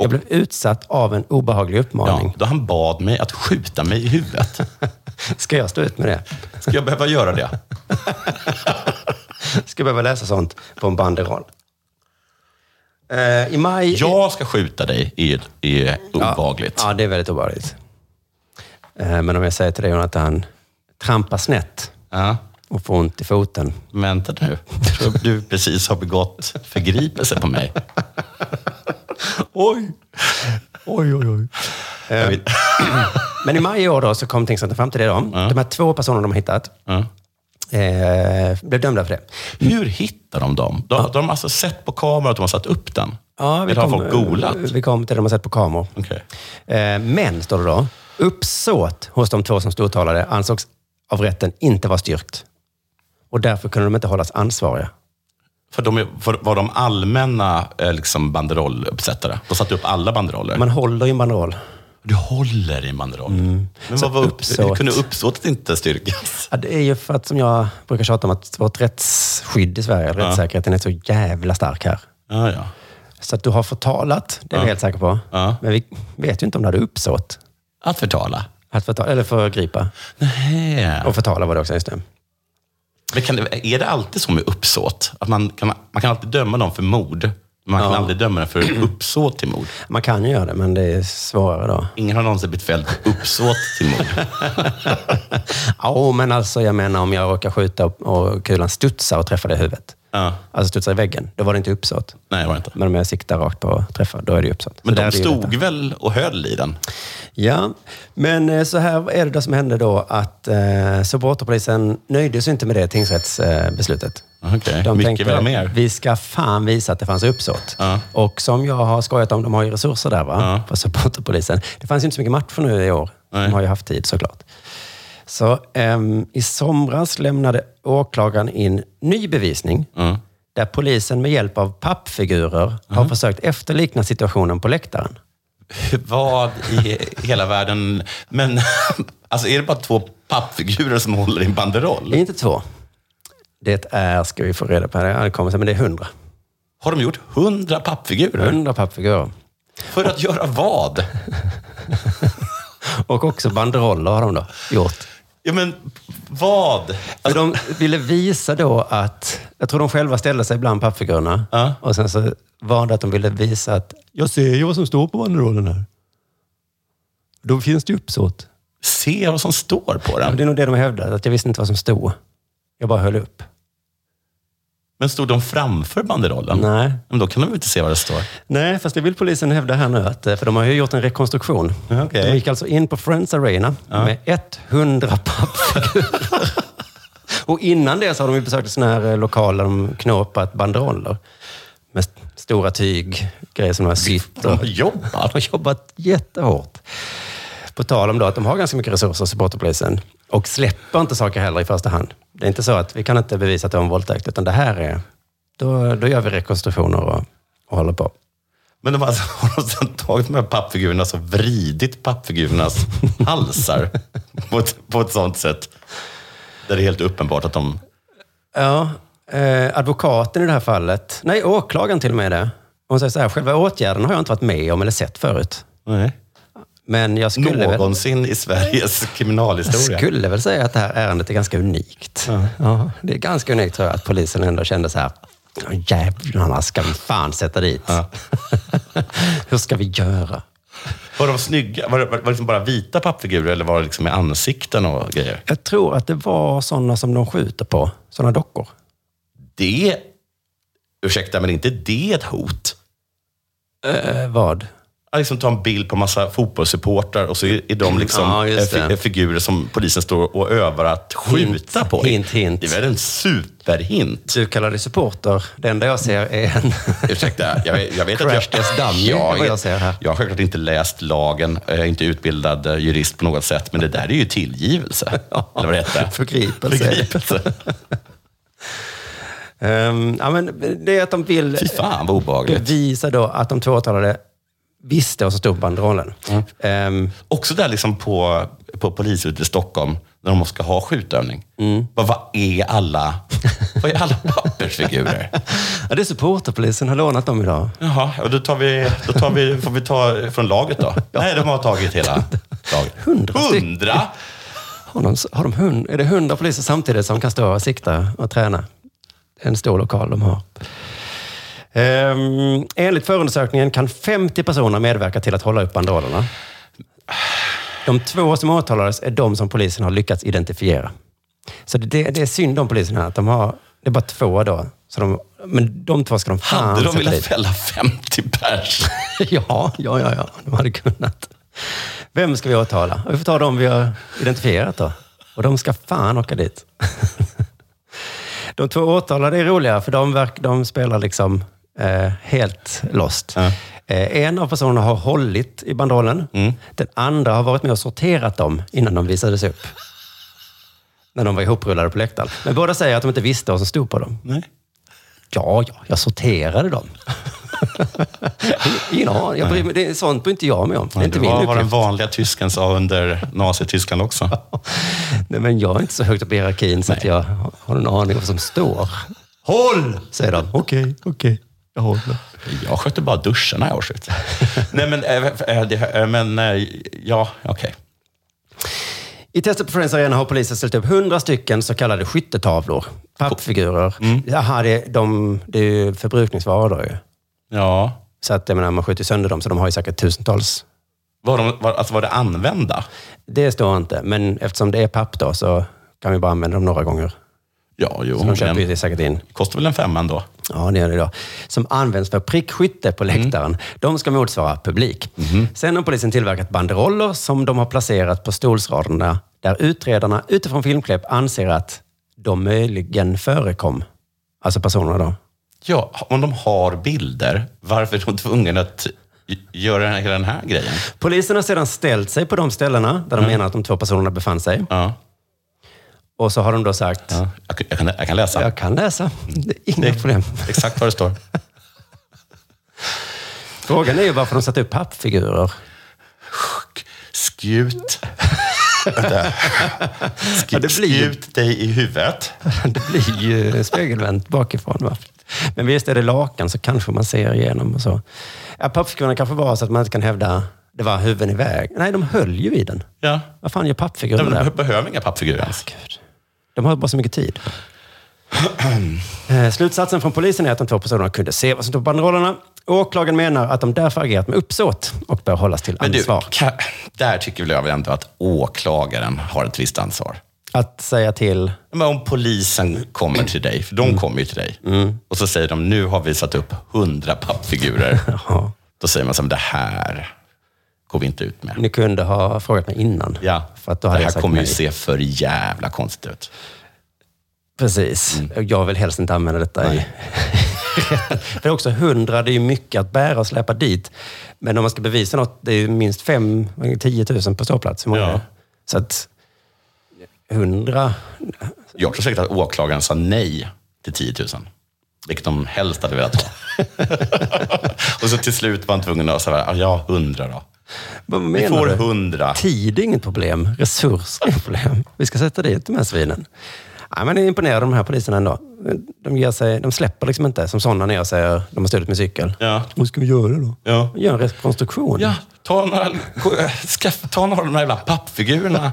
Speaker 6: Jag blev utsatt av en obehaglig
Speaker 4: ja.
Speaker 6: uppmaning.
Speaker 4: Då han bad mig att skjuta mig i huvudet.
Speaker 6: Ska jag stå ut med det?
Speaker 4: Ska jag behöva göra det?
Speaker 6: Ska jag behöva läsa sånt på en banderoll? Eh, I maj...
Speaker 4: Jag ska skjuta dig är ju- är ju obehagligt.
Speaker 6: Ja, det är väldigt obehagligt. Eh, men om jag säger till dig Jonathan, trampa snett
Speaker 4: Ja.
Speaker 6: och få ont i foten.
Speaker 4: Vänta nu. Jag tror du precis har begått förgripelse på mig.
Speaker 6: Oj! Oj, oj, oj. Eh.
Speaker 4: Jag vet-
Speaker 6: Men i maj i år då så kom tingsrätten fram till det. Då. De här två personerna de har hittat
Speaker 4: Ja.
Speaker 6: eh, blev dömda för det.
Speaker 4: Hur hittar de dem? De, de har alltså sett på kamera att de har satt upp den? Eller har folk golat?
Speaker 6: Vi kom till det de har sett på kameror.
Speaker 4: Okej.
Speaker 6: Eh, men, står det då, uppsåt hos de två som stortalade ansågs av rätten inte vara styrkt. Och därför kunde de inte hållas ansvariga.
Speaker 4: För, de, är- för var de allmänna eh, liksom, banderolluppsättare? De satte upp alla banderoller?
Speaker 6: Man håller ju en banderoll. Mm.
Speaker 4: du håller i en banderoll? Men vad var upp,
Speaker 6: uppsåt.
Speaker 4: hur kunde uppsåtet inte styrkas?
Speaker 6: Ja, det är ju för att, som jag brukar tjata om, att vårt rättsskydd i Sverige, rättssäkerheten, är så jävla stark här.
Speaker 4: Ja, ja.
Speaker 6: Så att du har förtalat, det är vi helt säkra på.
Speaker 4: Ja.
Speaker 6: Men vi vet ju inte om du hade uppsåt
Speaker 4: Att förtala?
Speaker 6: att förtala, eller förgripa.
Speaker 4: Nej.
Speaker 6: Och förtala var det också, just det.
Speaker 4: Men kan, det- är det alltid så med uppsåt? Att man, kan, man kan alltid döma dem för mord, men man kan aldrig döma dem för uppsåt till mord.
Speaker 6: Man kan ju göra det, men det är svårare då.
Speaker 4: Ingen har någonsin blivit fälld för uppsåt till mord.
Speaker 6: Ja, men alltså jag menar om jag råkar skjuta och- och kulan studsar och träffar dig i huvudet. Alltså studsa i väggen. Då var det inte uppsåt.
Speaker 4: Nej, det var det inte.
Speaker 6: Men om jag siktar rakt på träffar, då är det ju uppsåt.
Speaker 4: Men
Speaker 6: Så
Speaker 4: den
Speaker 6: där blir det
Speaker 4: stod väl och höll i den?
Speaker 6: Ja, men eh, så här är det då som hände då att eh, Sobotopolisen nöjde sig inte med det tingsrättsbeslutet.
Speaker 4: Okej,
Speaker 6: De
Speaker 4: mycket
Speaker 6: tänkte,
Speaker 4: vill ha mer.
Speaker 6: Eh, vi ska fan visa att det fanns uppsåt.
Speaker 4: Ja.
Speaker 6: Och som jag har skojat om, de har ju resurser där va? På Supporterpolisen. Det fanns ju inte så mycket matcher nu i år.
Speaker 4: Nej.
Speaker 6: De har ju haft tid såklart. Så ehm, i somras lämnade åklagaren in ny bevisning. Där polisen med hjälp av pappfigurer har försökt efterlikna situationen på läktaren.
Speaker 4: Vad i hela världen... Men alltså är det bara två pappfigurer som håller i en banderoll?
Speaker 6: Det är inte två. Det är, Äh, ska vi få reda på här, det kommer sen, men det är hundra.
Speaker 4: Har de gjort hundra pappfigurer?
Speaker 6: Hundra pappfigurer.
Speaker 4: För att göra vad?
Speaker 6: Och också banderoller har de då gjort.
Speaker 4: Ja, men vad?
Speaker 6: För
Speaker 4: Alltså,
Speaker 6: de ville visa då att, jag tror de själva ställde sig bland pappfigurerna.
Speaker 4: Ja.
Speaker 6: Och sen så var det att de ville visa att, jag ser ju vad som står på banderollen här. Då finns det ju uppsåt.
Speaker 4: Se vad som står på
Speaker 6: Ja.
Speaker 4: den.
Speaker 6: Det är nog det de hävdade, att jag visste inte vad som stod. Jag bara höll upp.
Speaker 4: Men stod de framför banderollen?
Speaker 6: Nej.
Speaker 4: Men då kan de väl inte se vad det står?
Speaker 6: Nej, fast det vill polisen hävda här nu, att, eh, för de har ju gjort en rekonstruktion.
Speaker 4: Ja, okej.
Speaker 6: De gick alltså in på Friends Arena med 100 pappfigurer. och innan det så har de ju besökt sådana här eh, lokaler där de knåpat banderoller med st- stora tyg, grejer som de har sytt.
Speaker 4: De
Speaker 6: och-
Speaker 4: har
Speaker 6: Ja,
Speaker 4: jobbat.
Speaker 6: de har jobbat jättehårt. På tal om då att de har ganska mycket resurser, supporterpolisen, och släpper inte saker heller i första hand. Det är inte så att vi kan inte bevisa att det var en våldtäkt, utan det här är... Då, då gör vi rekonstruktioner och, och håller på.
Speaker 4: Men de har alltså, har de sedan tagit de här pappfigurerna och vridit pappfigurernas halsar på ett, på ett sånt sätt där det är helt uppenbart att de...
Speaker 6: Ja, eh, advokaten i det här fallet, nej åklagaren till och med det. Hon säger så här, själva åtgärden har jag inte varit med om eller sett förut.
Speaker 4: Nej.
Speaker 6: Men jag skulle, väl,
Speaker 4: Någonsin i Sveriges kriminalhistoria.
Speaker 6: skulle väl säga att det här ärendet är ganska unikt. Ja, det är ganska unikt tror jag att polisen ändå kände så här, "Ja, jävlarna ska vi fan sätta dit. Hur ska vi göra?
Speaker 4: Var de snygga? Var det, var det liksom bara vita pappfigurer eller var det liksom med ansikten och grejer?
Speaker 6: Jag tror att det var sådana som de skjuter på, sådana dockor.
Speaker 4: Det... Ursäkta, men är inte det ett hot?
Speaker 6: Eh, vad?
Speaker 4: Att liksom ta en bild på massa fotbollssupportrar och så är är de liksom
Speaker 6: Ja, just
Speaker 4: eh, fi-
Speaker 6: det.
Speaker 4: figurer som polisen står och övar att skjuta på.
Speaker 6: hint, hint.
Speaker 4: Det är väl en superhint?
Speaker 6: Du kallar det supporter. Det enda jag ser är en...
Speaker 4: Ursäkta, jag, vet- jag vet att jag...
Speaker 6: Crash test dummy, vad jag ser här.
Speaker 4: Jag har självklart inte läst lagen, jag är inte utbildad eh, jurist på något sätt, men det där är ju tillgivelse. Eller vad det heter.
Speaker 6: Förgripelse.
Speaker 4: Förgripelse.
Speaker 6: Ehm, ja, men det är att de vill
Speaker 4: Fy fan vad obehagligt.
Speaker 6: bevisa då att de två åtalade visste vad som stod på banderollen. Ehm,
Speaker 4: Mm. Också där liksom på, på polishuset i Stockholm, när de ska ha skjutövning.
Speaker 6: Mm.
Speaker 4: Vad, vad är alla, vad är alla pappersfigurer?
Speaker 6: ja, det är supporterpolisen har lånat dem idag.
Speaker 4: Jaha, och då, tar vi, då tar vi, får vi ta från laget då? Nej, de har tagit hela laget.
Speaker 6: Hundra stycken.
Speaker 4: Hundra?
Speaker 6: Har de, har de hund, är det hundra poliser samtidigt som kan stå och sikta och träna? Det är en stor lokal de har. Um, enligt förundersökningen kan 50 personer medverka till att hålla upp banderollerna. De två som åtalades är de som polisen har lyckats identifiera. Så det, det är synd om polisen här. Att de har, det är bara två då. Så de, men de två ska de fan
Speaker 4: Hade de
Speaker 6: sätta
Speaker 4: velat
Speaker 6: dit.
Speaker 4: fälla 50 pers?
Speaker 6: ja, ja, ja, ja. De hade kunnat. Vem ska vi åtala? Vi får ta de vi har identifierat då. Och de ska fan åka dit. De två åtalade är roliga, för de, verk, de spelar liksom eh, helt lost. Eh, en av personerna har hållit i bandrollen. Den andra har varit med och sorterat dem innan de visades upp. När de var ihoprullade på läktaren. Men båda säger att de inte visste vad som stod på dem.
Speaker 4: Nej.
Speaker 6: Ja, ja, jag sorterade dem. Ingen aning. Jag bryr mig- Det är sånt bryr inte jag mig om. Det är inte
Speaker 4: det
Speaker 6: min
Speaker 4: var vad den
Speaker 6: uppgift.
Speaker 4: vanliga tysken sa under Nazityskland också.
Speaker 6: Nej, men jag är inte så högt upp i hierarkin så att jag har en aning om vad som står. Håll! Säger de. Okej, okej. Jag håller.
Speaker 4: Jag skötte bara duschen när jag årsskiftet. Nej, men, eh, eh, det, eh, men eh, ja, okej.
Speaker 6: I testet på Friends Arena har polisen ställt upp 100 stycken så kallade skyttetavlor. Pappfigurer.
Speaker 4: Mm.
Speaker 6: Jaha, det, de, det är ju förbrukningsvaror då ju.
Speaker 4: Ja.
Speaker 6: Så att jag menar, man skjuter sönder dem, så de har ju säkert tusentals.
Speaker 4: Var, de, var, alltså, var det använda?
Speaker 6: Det står inte, men eftersom det är papp då så kan vi bara använda dem några gånger.
Speaker 4: Ja, jo.
Speaker 6: Så de köper ju
Speaker 4: men
Speaker 6: det säkert in.
Speaker 4: Kostar väl en femma ändå?
Speaker 6: Ja, det gör det då. Som används för prickskytte på
Speaker 4: Mm.
Speaker 6: läktaren. De ska motsvara publik.
Speaker 4: Mhm.
Speaker 6: Sen har polisen tillverkat banderoller som de har placerat på stolsraderna där utredarna utifrån filmklipp anser att de möjligen förekom. Alltså personerna då.
Speaker 4: Ja, om de har bilder, varför är de tvungna att gö- göra den här, hela den här grejen?
Speaker 6: Polisen har sedan ställt sig på de ställena där de menar att de två personerna befann sig.
Speaker 4: Mm. Ja.
Speaker 6: Och så har de då sagt,
Speaker 4: Ja. Jag, jag, kan, jag kan läsa. Mm.
Speaker 6: jag kan läsa, det är inga problem.
Speaker 4: Exakt vad det står.
Speaker 6: Frågan är ju varför de satt upp pappfigurer.
Speaker 4: Skjut. Vänta. Sk-
Speaker 6: Ja, det blir ju-
Speaker 4: Skjut dig i huvudet.
Speaker 6: Det blir ju spegelvänt bakifrån. Va? Men visst är det lakan så kanske man ser igenom och så. Ja, pappfigurerna kanske var så att man inte kan hävda det var huvuden i väg. Nej, de höll ju i den.
Speaker 4: Ja.
Speaker 6: Vad fan gör
Speaker 4: De,
Speaker 6: pappfigurerna
Speaker 4: de
Speaker 6: där?
Speaker 4: behöver inga pappfigurer ens.
Speaker 6: Gud. De har bara så mycket tid. Eh, Slutsatsen från polisen är att de två personerna kunde se vad som stod på banderollerna. Åklagaren menar att de därför agerat med uppsåt och bör hållas till
Speaker 4: Men du,
Speaker 6: ansvar.
Speaker 4: ka- där tycker väl jag väl ändå att åklagaren har ett visst ansvar.
Speaker 6: Att säga till... Mm.
Speaker 4: Men om polisen kommer till dig, för de kommer ju till dig, och så säger de nu har vi satt upp hundra pappfigurer.
Speaker 6: Jaha,
Speaker 4: Då säger man som det här går vi inte ut med.
Speaker 6: ni kunde ha frågat mig innan.
Speaker 4: Ja,
Speaker 6: för att då hade
Speaker 4: det
Speaker 6: jag
Speaker 4: här
Speaker 6: sagt
Speaker 4: kommer ju
Speaker 6: nej.
Speaker 4: se för jävla konstigt ut. Mm.
Speaker 6: Precis. Jag vill helst inte använda detta i... För det är också hundra, det är ju mycket att bära och släpa dit. Men om man ska bevisa något, det är ju minst fem, 10 000 på ståplats. Hur många
Speaker 4: Ja.
Speaker 6: är det? Så att hundra...
Speaker 4: Jag tror säkert att åklagaren sa nej till 10 000. Vilket de helst hade velat ha. och så till slut var han tvungen att säga, "Ah, ja, hundra då.
Speaker 6: Vad
Speaker 4: Vi
Speaker 6: menar
Speaker 4: får
Speaker 6: du?
Speaker 4: hundra.
Speaker 6: Tid är inget problem. Resurser är inget problem. Vi ska sätta dit de här svinen. Ja, men jag är imponerad av de här poliserna ändå. De, ger sig, de släpper liksom inte, som sådana när jag säger de har stulit min cykel.
Speaker 4: Ja.
Speaker 6: Vad ska vi göra då?
Speaker 4: Ja.
Speaker 6: Gör en rekonstruktion.
Speaker 4: Ja, ta några, gå- äh, skaffa, ta några av de här jävla pappfigurerna.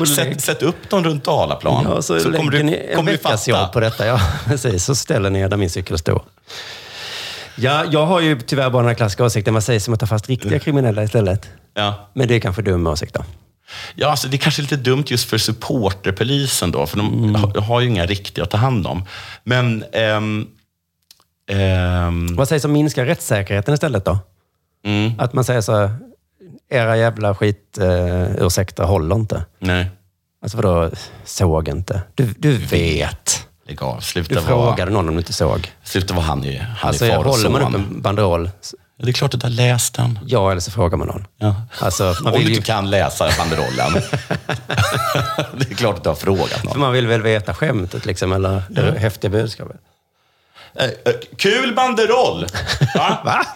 Speaker 4: och sätt, sätt upp dem runt Dalaplan.
Speaker 6: Ja, så, lägger ni en veckas jobb på detta. Ja, precis. Så ställer ni er där min cykel står. Ja, jag har ju tyvärr bara den här klassiska åsikten. Man säger som att ta fast riktiga kriminella istället.
Speaker 4: Ja.
Speaker 6: Men det är kanske dum åsikt då.
Speaker 4: Ja, alltså det är kanske är lite dumt just för supporterpolisen då, för de
Speaker 6: Mm.
Speaker 4: ha- har ju inga riktiga att ta hand om. Men... ehm, ehm,
Speaker 6: Vad sägs om minska rättssäkerheten istället då?
Speaker 4: mm,
Speaker 6: Att man säger så här, era jävla skit, eh, ursäkta, håller inte.
Speaker 4: nej,
Speaker 6: Alltså vadå, såg inte? Du, du vet.
Speaker 4: lägg av.
Speaker 6: Du
Speaker 4: Sluta vara,
Speaker 6: frågade någon om du inte såg.
Speaker 4: sluta vara han i, han
Speaker 6: Alltså,
Speaker 4: i far och
Speaker 6: håller man upp
Speaker 4: son.
Speaker 6: en banderoll, s-
Speaker 4: Ja, det är klart att du har läst den.
Speaker 6: ja eller så frågar man någon.
Speaker 4: Ja.
Speaker 6: Alltså, man
Speaker 4: Om
Speaker 6: vill
Speaker 4: du
Speaker 6: ju-
Speaker 4: inte kan läsa banderollen. det är klart att du har frågat någon.
Speaker 6: För man vill väl veta skämtet liksom, eller det häftiga budskapet.
Speaker 4: Eh, eh, Kul banderoll! Va? Va?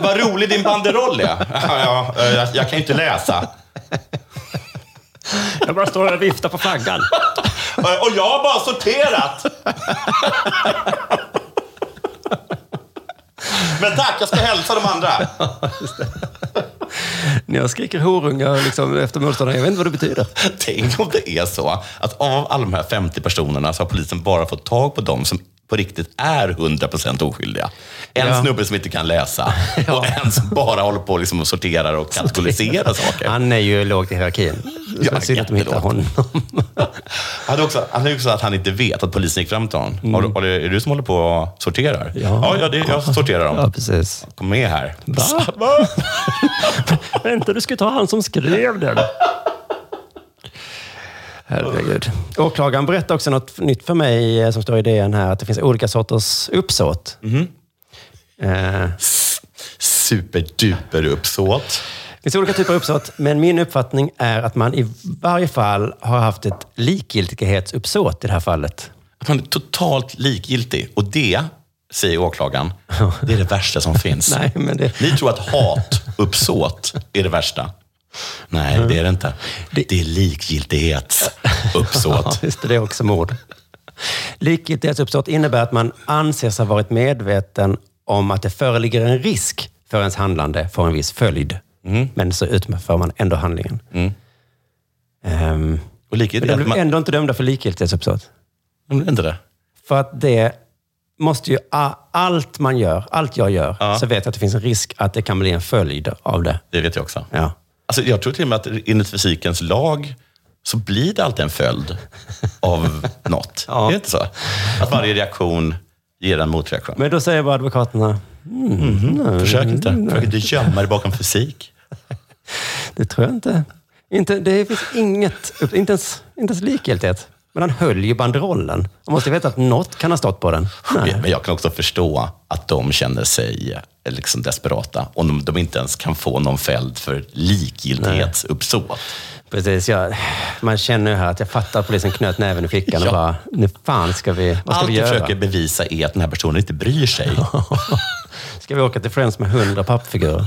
Speaker 4: vad rolig din banderoll är. Ja, ja, eh, jag, jag kan ju inte läsa.
Speaker 6: Jag bara står och viftar på flaggan.
Speaker 4: Eh, Och jag har bara sorterat. Men tack, jag ska hälsa de andra.
Speaker 6: När jag skriker horunga liksom, efter motståndaren, jag vet inte vad det betyder.
Speaker 4: Tänk om det är så att av alla de här 50 personerna så har polisen bara fått tag på de som på riktigt är 100% oskyldiga. En
Speaker 6: Ja.
Speaker 4: snubbe som inte kan läsa och en som bara håller på liksom och sorterar och kategoriserar saker.
Speaker 6: Han är ju låg i hierarkin.
Speaker 4: Ja,
Speaker 6: Så synd att de hittar honom.
Speaker 4: jättelåg. Han är också, han är också att han inte vet att polisen gick fram till honom.
Speaker 6: Mm.
Speaker 4: Har du- har du- är det du som håller på och sorterar? ja, ja det, jag sorterar dem.
Speaker 6: Ja, precis.
Speaker 4: Kom med här.
Speaker 6: Va? Vänta, du ska ta han som skrev den. Herregud. Åklagaren berättar också något nytt för mig eh, som står i DN här, att det finns olika sorters uppsåt. Eh,
Speaker 4: Superduper uppsåt.
Speaker 6: Det finns olika typer av uppsåt, men min uppfattning är att man i varje fall har haft ett likgiltighetsuppsåt i det här fallet.
Speaker 4: Att man är totalt likgiltig. Och det, säger åklagaren, det är det värsta som finns.
Speaker 6: Nej, men det,
Speaker 4: Ni tror att hatuppsåt är det värsta. Nej, det är det inte. Det är
Speaker 6: Ja,
Speaker 4: likgiltighetsuppsåt.
Speaker 6: just det. Det är också mord. Likgiltighetsuppsåt innebär att man anser sig ha varit medveten om att det föreligger en risk för ens handlande får en viss följd.
Speaker 4: Mm.
Speaker 6: Men så utför man ändå handlingen. Ehm,
Speaker 4: Och
Speaker 6: men de
Speaker 4: likgiltighet,
Speaker 6: blev
Speaker 4: man,
Speaker 6: ändå inte dömda för likgiltighetsuppsåt.
Speaker 4: är inte det?
Speaker 6: För att det måste ju... a- Allt man gör, allt jag gör, så vet jag att det finns en risk att det kan bli en följd av det.
Speaker 4: Det vet jag också.
Speaker 6: Ja.
Speaker 4: Alltså, jag tror till och med att enligt fysikens lag så blir det alltid en följd av något. Är det inte så? Att varje reaktion ger en motreaktion. Mm-hmm.
Speaker 6: Men då säger bara advokaterna, mm, nej,
Speaker 4: Försök inte.
Speaker 6: nej,
Speaker 4: Försök inte gömma dig bakom fysik.
Speaker 6: Det tror jag inte. inte det finns inget, inte ens, inte ens likgiltighet. Men han höll ju banderollen. Man måste ju veta att något kan ha stått på den. Nej.
Speaker 4: Men jag kan också förstå att de känner sig liksom desperata om de, de inte ens kan få någon fälld för likgiltighetsuppsåt.
Speaker 6: Precis, jag, man känner ju här att jag fattar att polisen knöt näven i fickan
Speaker 4: Ja.
Speaker 6: och bara, nu fan ska vi, vad ska
Speaker 4: Allt
Speaker 6: vi
Speaker 4: jag
Speaker 6: göra?
Speaker 4: försöker bevisa är att den här personen inte bryr sig.
Speaker 6: Ska vi åka till Friends med hundra pappfigurer?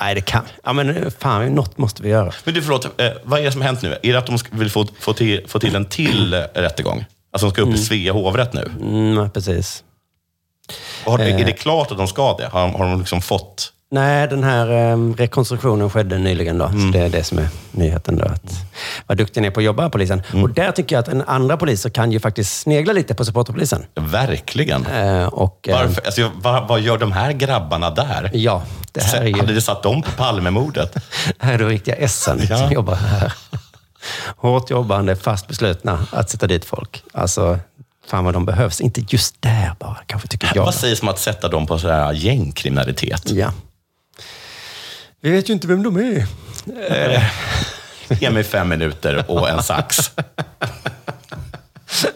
Speaker 6: Nej, det kan Ja, men eh, fan, något måste vi göra.
Speaker 4: Men du, förlåt, eh, vad är det som har hänt nu? Är det att de ska- vill få, få, till, få till en till eh, rättegång? Alltså de ska upp i Svea hovrätt nu.
Speaker 6: Mm, precis. Eh.
Speaker 4: Och Har, Är det klart att de ska det? Har, har de liksom fått...
Speaker 6: Nej, den här em, rekonstruktionen skedde nyligen då.
Speaker 4: Mm.
Speaker 6: Så det är det som är nyheten då. Att, vad duktig ni är på att jobba, polisen.
Speaker 4: Mm.
Speaker 6: Och där tycker jag att en andra poliser kan ju faktiskt snegla lite på supporterpolisen.
Speaker 4: Verkligen.
Speaker 6: Eh, och, em,
Speaker 4: Varför, alltså, jag- vad, vad gör de här grabbarna där?
Speaker 6: Ja, det här är
Speaker 4: Hade
Speaker 6: ju
Speaker 4: det satt dem på Palmemordet?
Speaker 6: här är de riktiga essen
Speaker 4: Ja.
Speaker 6: som jobbar här. Hårt jobbande, fast beslutna att sätta dit folk. Alltså, fan vad de behövs. Inte just där bara, kanske tycker jag.
Speaker 4: Vad sägs om att sätta dem på så här gängkriminalitet?
Speaker 6: Ja. Vi vet ju inte vem de är.
Speaker 4: Eh, Ge mig fem minuter och en sax.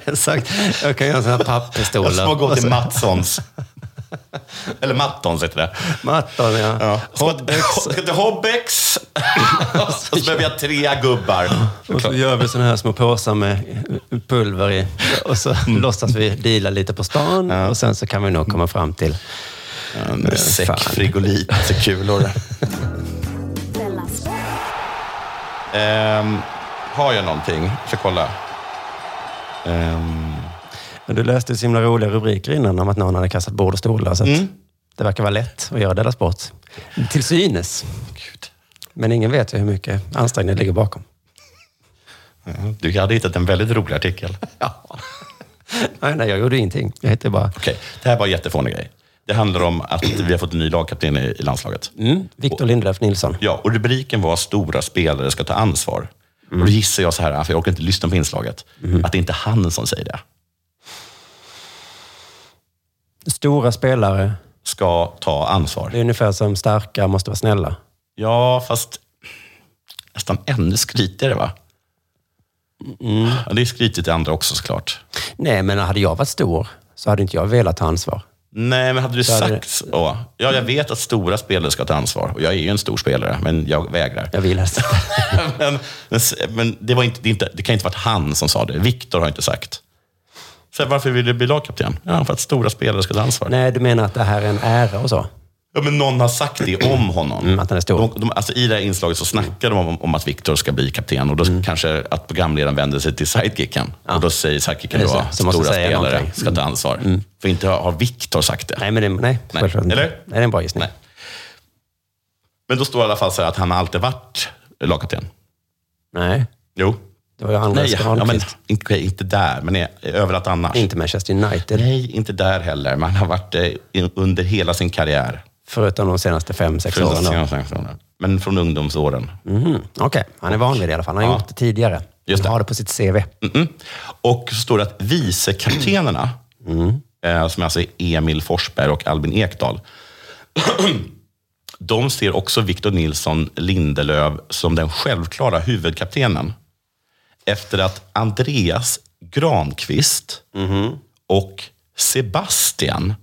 Speaker 6: Exakt. Jag kan göra en sån här papppistol. Alltså.
Speaker 4: Jag ska gå till Mattssons. Eller Mattons heter det.
Speaker 6: Mattan, ja.
Speaker 4: Ja.
Speaker 6: Hotdogs.
Speaker 4: Ska till Hobbex. Och så behöver jag tre gubbar.
Speaker 6: Och så gör vi såna här små påsar med pulver i. Och så
Speaker 4: Mm.
Speaker 6: låtsas vi deala lite på stan. Och sen så kan vi nog komma fram till... eh,
Speaker 4: En säck
Speaker 6: Fan.
Speaker 4: frigolitkulor. Ehm, har jag någonting? Jag ska kolla. Ehm,
Speaker 6: Men du läste ju så himla roliga rubriker innan om att någon hade kastat bord och stolar. Så att
Speaker 4: Mm.
Speaker 6: det verkar vara lätt att göra deras sport. Till synes. Men ingen vet ju hur mycket ansträngning det ligger bakom.
Speaker 4: du hade hittat en väldigt rolig artikel.
Speaker 6: Nej, nej, jag gjorde ingenting. Jag hittade bara...
Speaker 4: Okej, det här var en jättefånig grej. Det handlar om att vi har fått en ny lagkapten i, i landslaget.
Speaker 6: Mm, Victor Lindelöf Nilsson.
Speaker 4: Ja, och rubriken var Stora spelare ska ta ansvar. Och då gissar jag så här, för jag orkar inte lyssna på inslaget,
Speaker 6: Mhm.
Speaker 4: att det är inte han som säger det.
Speaker 6: Stora spelare.
Speaker 4: Ska ta
Speaker 6: Det är
Speaker 4: ansvar.
Speaker 6: ungefär som starka måste vara snälla.
Speaker 4: Ja, fast nästan ännu skrytigare va? Ja, det är skrytigt i andra också såklart.
Speaker 6: Nej, men hade jag varit stor så hade inte jag velat ta ansvar.
Speaker 4: Nej, men hade du
Speaker 6: Så hade
Speaker 4: sagt så? Ja, jag vet att stora spelare ska ta ansvar. Och jag är ju en stor spelare, men jag vägrar.
Speaker 6: Jag vill helst inte.
Speaker 4: men men, men det, var inte, det, är inte, det kan inte ha varit han som sa det. Viktor har inte sagt. Så här, varför vill du bli lagkapten? Ja, för att stora spelare ska ta ansvar.
Speaker 6: Nej, du menar att det här är en ära och så?
Speaker 4: Ja, men någon har sagt det om honom.
Speaker 6: Mm, att han är stor.
Speaker 4: De, de, alltså, I det här inslaget så snackar de om, om att Viktor ska bli kapten och då
Speaker 6: Mm.
Speaker 4: kanske att programledaren vänder sig till sidekicken. Och då säger sidekicken
Speaker 6: Just
Speaker 4: då,
Speaker 6: det, som måste
Speaker 4: stora
Speaker 6: säga
Speaker 4: spelare
Speaker 6: någonting." Mm.
Speaker 4: ska ta ansvar. För inte har, har Viktor sagt det.
Speaker 6: Nej, men det, nej,
Speaker 4: Nej.
Speaker 6: självklart inte.
Speaker 4: Eller?
Speaker 6: Nej, det är en bra gissning.
Speaker 4: Nej. Men då står det i alla fall så här att han har alltid varit lagkapten.
Speaker 6: Nej,
Speaker 4: Jo.
Speaker 6: det var ju Anders
Speaker 4: Nej, ja, men,
Speaker 6: Granqvist.
Speaker 4: inte, okej, inte där, men i- överallt annars.
Speaker 6: Inte Manchester United,
Speaker 4: Nej, inte där heller. Man har varit eh, i- under hela sin karriär.
Speaker 6: förutom de senaste fem, sex åren. då.
Speaker 4: Men från ungdomsåren.
Speaker 6: Mhm, Okej, han är van vid det i alla fall. Han har
Speaker 4: Ja.
Speaker 6: gjort det tidigare.
Speaker 4: Just det.
Speaker 6: Han har det på sitt CV.
Speaker 4: Mm. Och så står det att vicekaptenerna,
Speaker 6: Mm.
Speaker 4: eh, som alltså är Emil Forsberg och Albin Ekdal, de ser också Victor Nilsson Lindelöf som den självklara huvudkaptenen. Efter att Andreas Granqvist
Speaker 6: Mhm.
Speaker 4: och Sebastian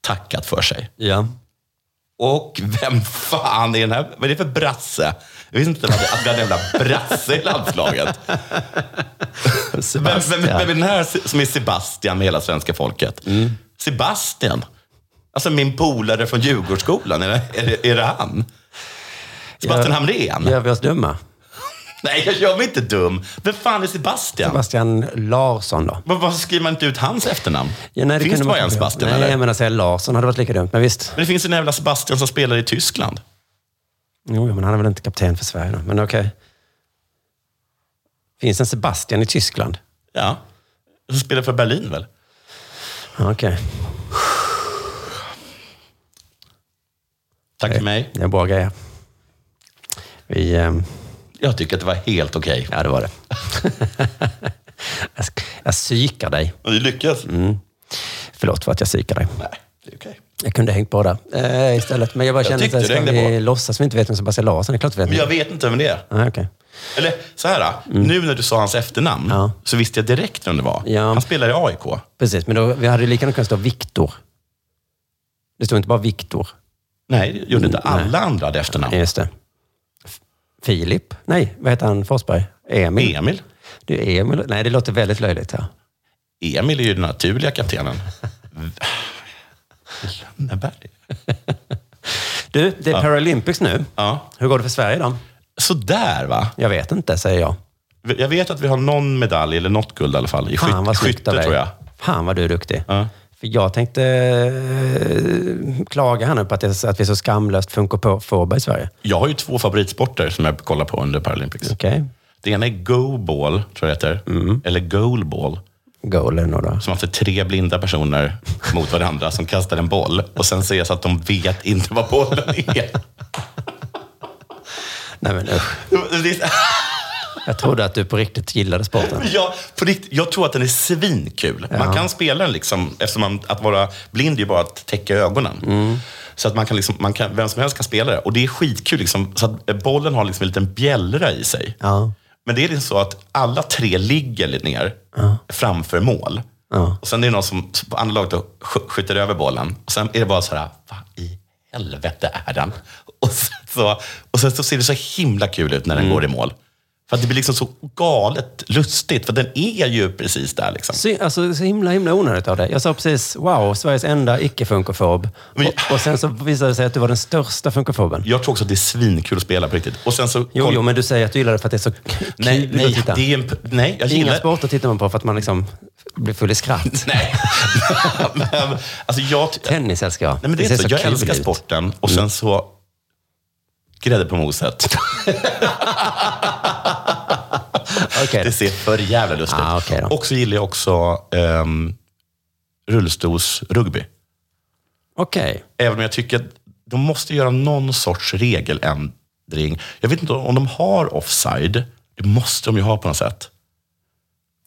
Speaker 4: tackat för sig.
Speaker 6: Ja.
Speaker 4: Och vem fan är den här? Vad är det för brasse? Jag visste inte att det- att vi hade en jävla brasse i landslaget. Vem, vem, vem är den här som är Sebastian med hela svenska folket?
Speaker 6: Mm.
Speaker 4: Sebastian? Alltså min polare från Djurgårdsskolan, är det, är det, är det han? Sebastian
Speaker 6: Ja.
Speaker 4: Hamrén?
Speaker 6: Gör vi oss dumma?
Speaker 4: Nej, jag gör mig inte dum. Vem fan är Sebastian?
Speaker 6: Sebastian Larsson då?
Speaker 4: Var- Varför skriver man inte ut hans efternamn?
Speaker 6: Ja, nej,
Speaker 4: finns det
Speaker 6: kunde
Speaker 4: bara
Speaker 6: man-
Speaker 4: en Sebastian?
Speaker 6: Nej,
Speaker 4: eller?
Speaker 6: jag menar säga Larsson hade varit lika dumt. Men visst.
Speaker 4: Men det finns en jävla Sebastian som spelar i Tyskland.
Speaker 6: Jo, men han är väl inte kapten för Sverige då. Men okej. Finns en Sebastian i Tyskland?
Speaker 4: Ja. Som spelar för Berlin väl?
Speaker 6: Ja, Okej,
Speaker 4: Tack för mig.
Speaker 6: det är bra grejer. Vi, ehm,
Speaker 4: Jag tycker att det var helt okej.
Speaker 6: Ja, det var det. jag, sk- jag psykar dig.
Speaker 4: Och du lyckas?
Speaker 6: Mm. Förlåt för att jag psykar dig.
Speaker 4: Nej, det är okej.
Speaker 6: Jag kunde hängt på där eh, istället. Men jag bara
Speaker 4: Jag
Speaker 6: kände
Speaker 4: tyckte
Speaker 6: att
Speaker 4: det
Speaker 6: ska
Speaker 4: hängde
Speaker 6: vi låtsas vi inte vet vem Sebastian Larsson är? klart vi vet.
Speaker 4: Men jag vet inte vem det är.
Speaker 6: Ah, okay.
Speaker 4: Eller så här, nu när du sa hans efternamn
Speaker 6: Ja.
Speaker 4: så visste jag direkt vem det var.
Speaker 6: Ja.
Speaker 4: Han spelar i AIK.
Speaker 6: Precis, men då, vi hade ju lika gärna kunnat stå Viktor. Det stod inte bara Viktor.
Speaker 4: Nej, det gjorde inte
Speaker 6: Mm,
Speaker 4: alla andra hade efternamn.
Speaker 6: Just det. F- Filip? Nej, vad heter han Forsberg? Emil?
Speaker 4: Emil.
Speaker 6: Det är Emil. Nej, det låter väldigt löjligt. Ja.
Speaker 4: Emil är ju den naturliga kaptenen. Lönneberg.
Speaker 6: Du, det är Paralympics nu.
Speaker 4: Ja.
Speaker 6: Hur går det för Sverige då?
Speaker 4: Sådär va?
Speaker 6: Jag vet inte, säger jag.
Speaker 4: Jag vet att vi har någon medalj, eller något guld i alla fall. I skyt-
Speaker 6: snyggt
Speaker 4: skytte
Speaker 6: av dig.
Speaker 4: tror jag.
Speaker 6: Fan vad du är duktig.
Speaker 4: Ja.
Speaker 6: För jag tänkte eh, klaga här nu på att, det, att vi är så skamlöst funkar på Fåberg i Sverige.
Speaker 4: Jag har ju två favoritsporter som jag kollar på under Paralympics.
Speaker 6: Okej. Mm.
Speaker 4: Det ena är go-ball, tror jag det heter. Eller goal-ball.
Speaker 6: Goal är det nog då.
Speaker 4: Som att det är tre blinda personer mot varandra som kastar en boll. Och sen säger jag så att de vet inte vad bollen är.
Speaker 6: Nej men usch.
Speaker 4: Det är-
Speaker 6: Jag trodde att du på riktigt gillade sporten.
Speaker 4: Jag, på riktigt, jag tror att den är svinkul. Man kan spela den liksom, eftersom man, att vara blind är ju bara att täcka ögonen.
Speaker 6: Mm.
Speaker 4: Så att man kan liksom, man kan, vem som helst kan spela det. Och det är skitkul. Liksom, så att eh, bollen har liksom en liten bjällra i sig.
Speaker 6: Ja.
Speaker 4: Men det är liksom så att alla tre ligger lite ner framför mål.
Speaker 6: Ja.
Speaker 4: Och sen är det någon som på andra laget då sk- skjuter över bollen. Och sen är det bara så här, vad i helvete är den? Och sen så, och sen så ser det så himla kul ut när
Speaker 6: Mm.
Speaker 4: den går i mål. För att det blir liksom så galet lustigt, för den är ju precis där. Liksom.
Speaker 6: Så, alltså, så himla, himla onödigt av det. Jag sa precis, wow, Sveriges enda icke-funkofob.
Speaker 4: Men-
Speaker 6: Och, och sen så visade det sig att du var den största funkofoben.
Speaker 4: Jag tror också att det är svinkul att spela på riktigt. Och sen så...
Speaker 6: Jo, jo, men du säger att du gillar det för att det är så k- kul
Speaker 4: nej,
Speaker 6: att
Speaker 4: nej,
Speaker 6: titta.
Speaker 4: det är en, p- nej, jag
Speaker 6: Inga
Speaker 4: gillar...
Speaker 6: sporter tittar man på för att man liksom blir full i skratt.
Speaker 4: Nej. men, alltså jag...
Speaker 6: Tennis älskar jag.
Speaker 4: Nej, men det är
Speaker 6: ser
Speaker 4: inte så. Jag
Speaker 6: kul
Speaker 4: älskar
Speaker 6: ut. Mm.
Speaker 4: sporten och sen så grädde på moset.
Speaker 6: Okej.
Speaker 4: Det ser för jävla lustigt
Speaker 6: Ah, okej då.
Speaker 4: Och så gillar jag också ehm, rullstolsrugby.
Speaker 6: Okej.
Speaker 4: Även om jag tycker att de måste göra någon sorts regeländring. Jag vet inte om de har offside. Det måste de ju ha på något sätt.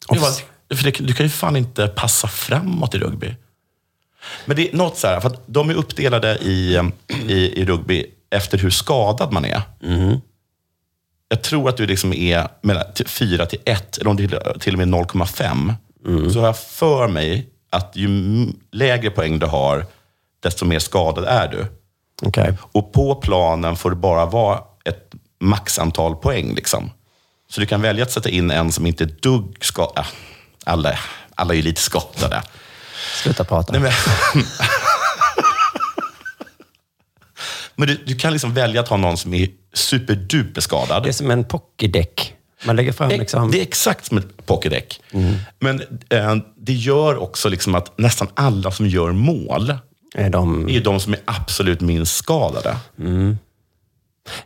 Speaker 4: Det var, för det, du kan ju fan inte passa framåt i rugby. Men det är något så här, för att de är uppdelade i, em, i, i rugby efter hur skadad man är. Jag tror att du liksom är mellan t- 4 till 1, eller om det är till och med 0,5. Så har jag för mig att ju m- lägre poäng du har, desto mer skadad är du.
Speaker 6: Okej.
Speaker 4: Och på planen får det bara vara ett maxantal poäng. Liksom. Så du kan välja att sätta in en som inte är ett dugg äh, skadad. Alla, alla är ju lite skadade.
Speaker 6: Sluta prata.
Speaker 4: Nej, men men du, du kan liksom välja att ha någon som är superduper skadad.
Speaker 6: Det är som en pockydäck. Man lägger fram liksom...
Speaker 4: Det är exakt som ett pocketdeck. Men eh, det gör också liksom att nästan alla som gör mål
Speaker 6: Är
Speaker 4: är
Speaker 6: de... Mm.
Speaker 4: ju de som är absolut minst skadade.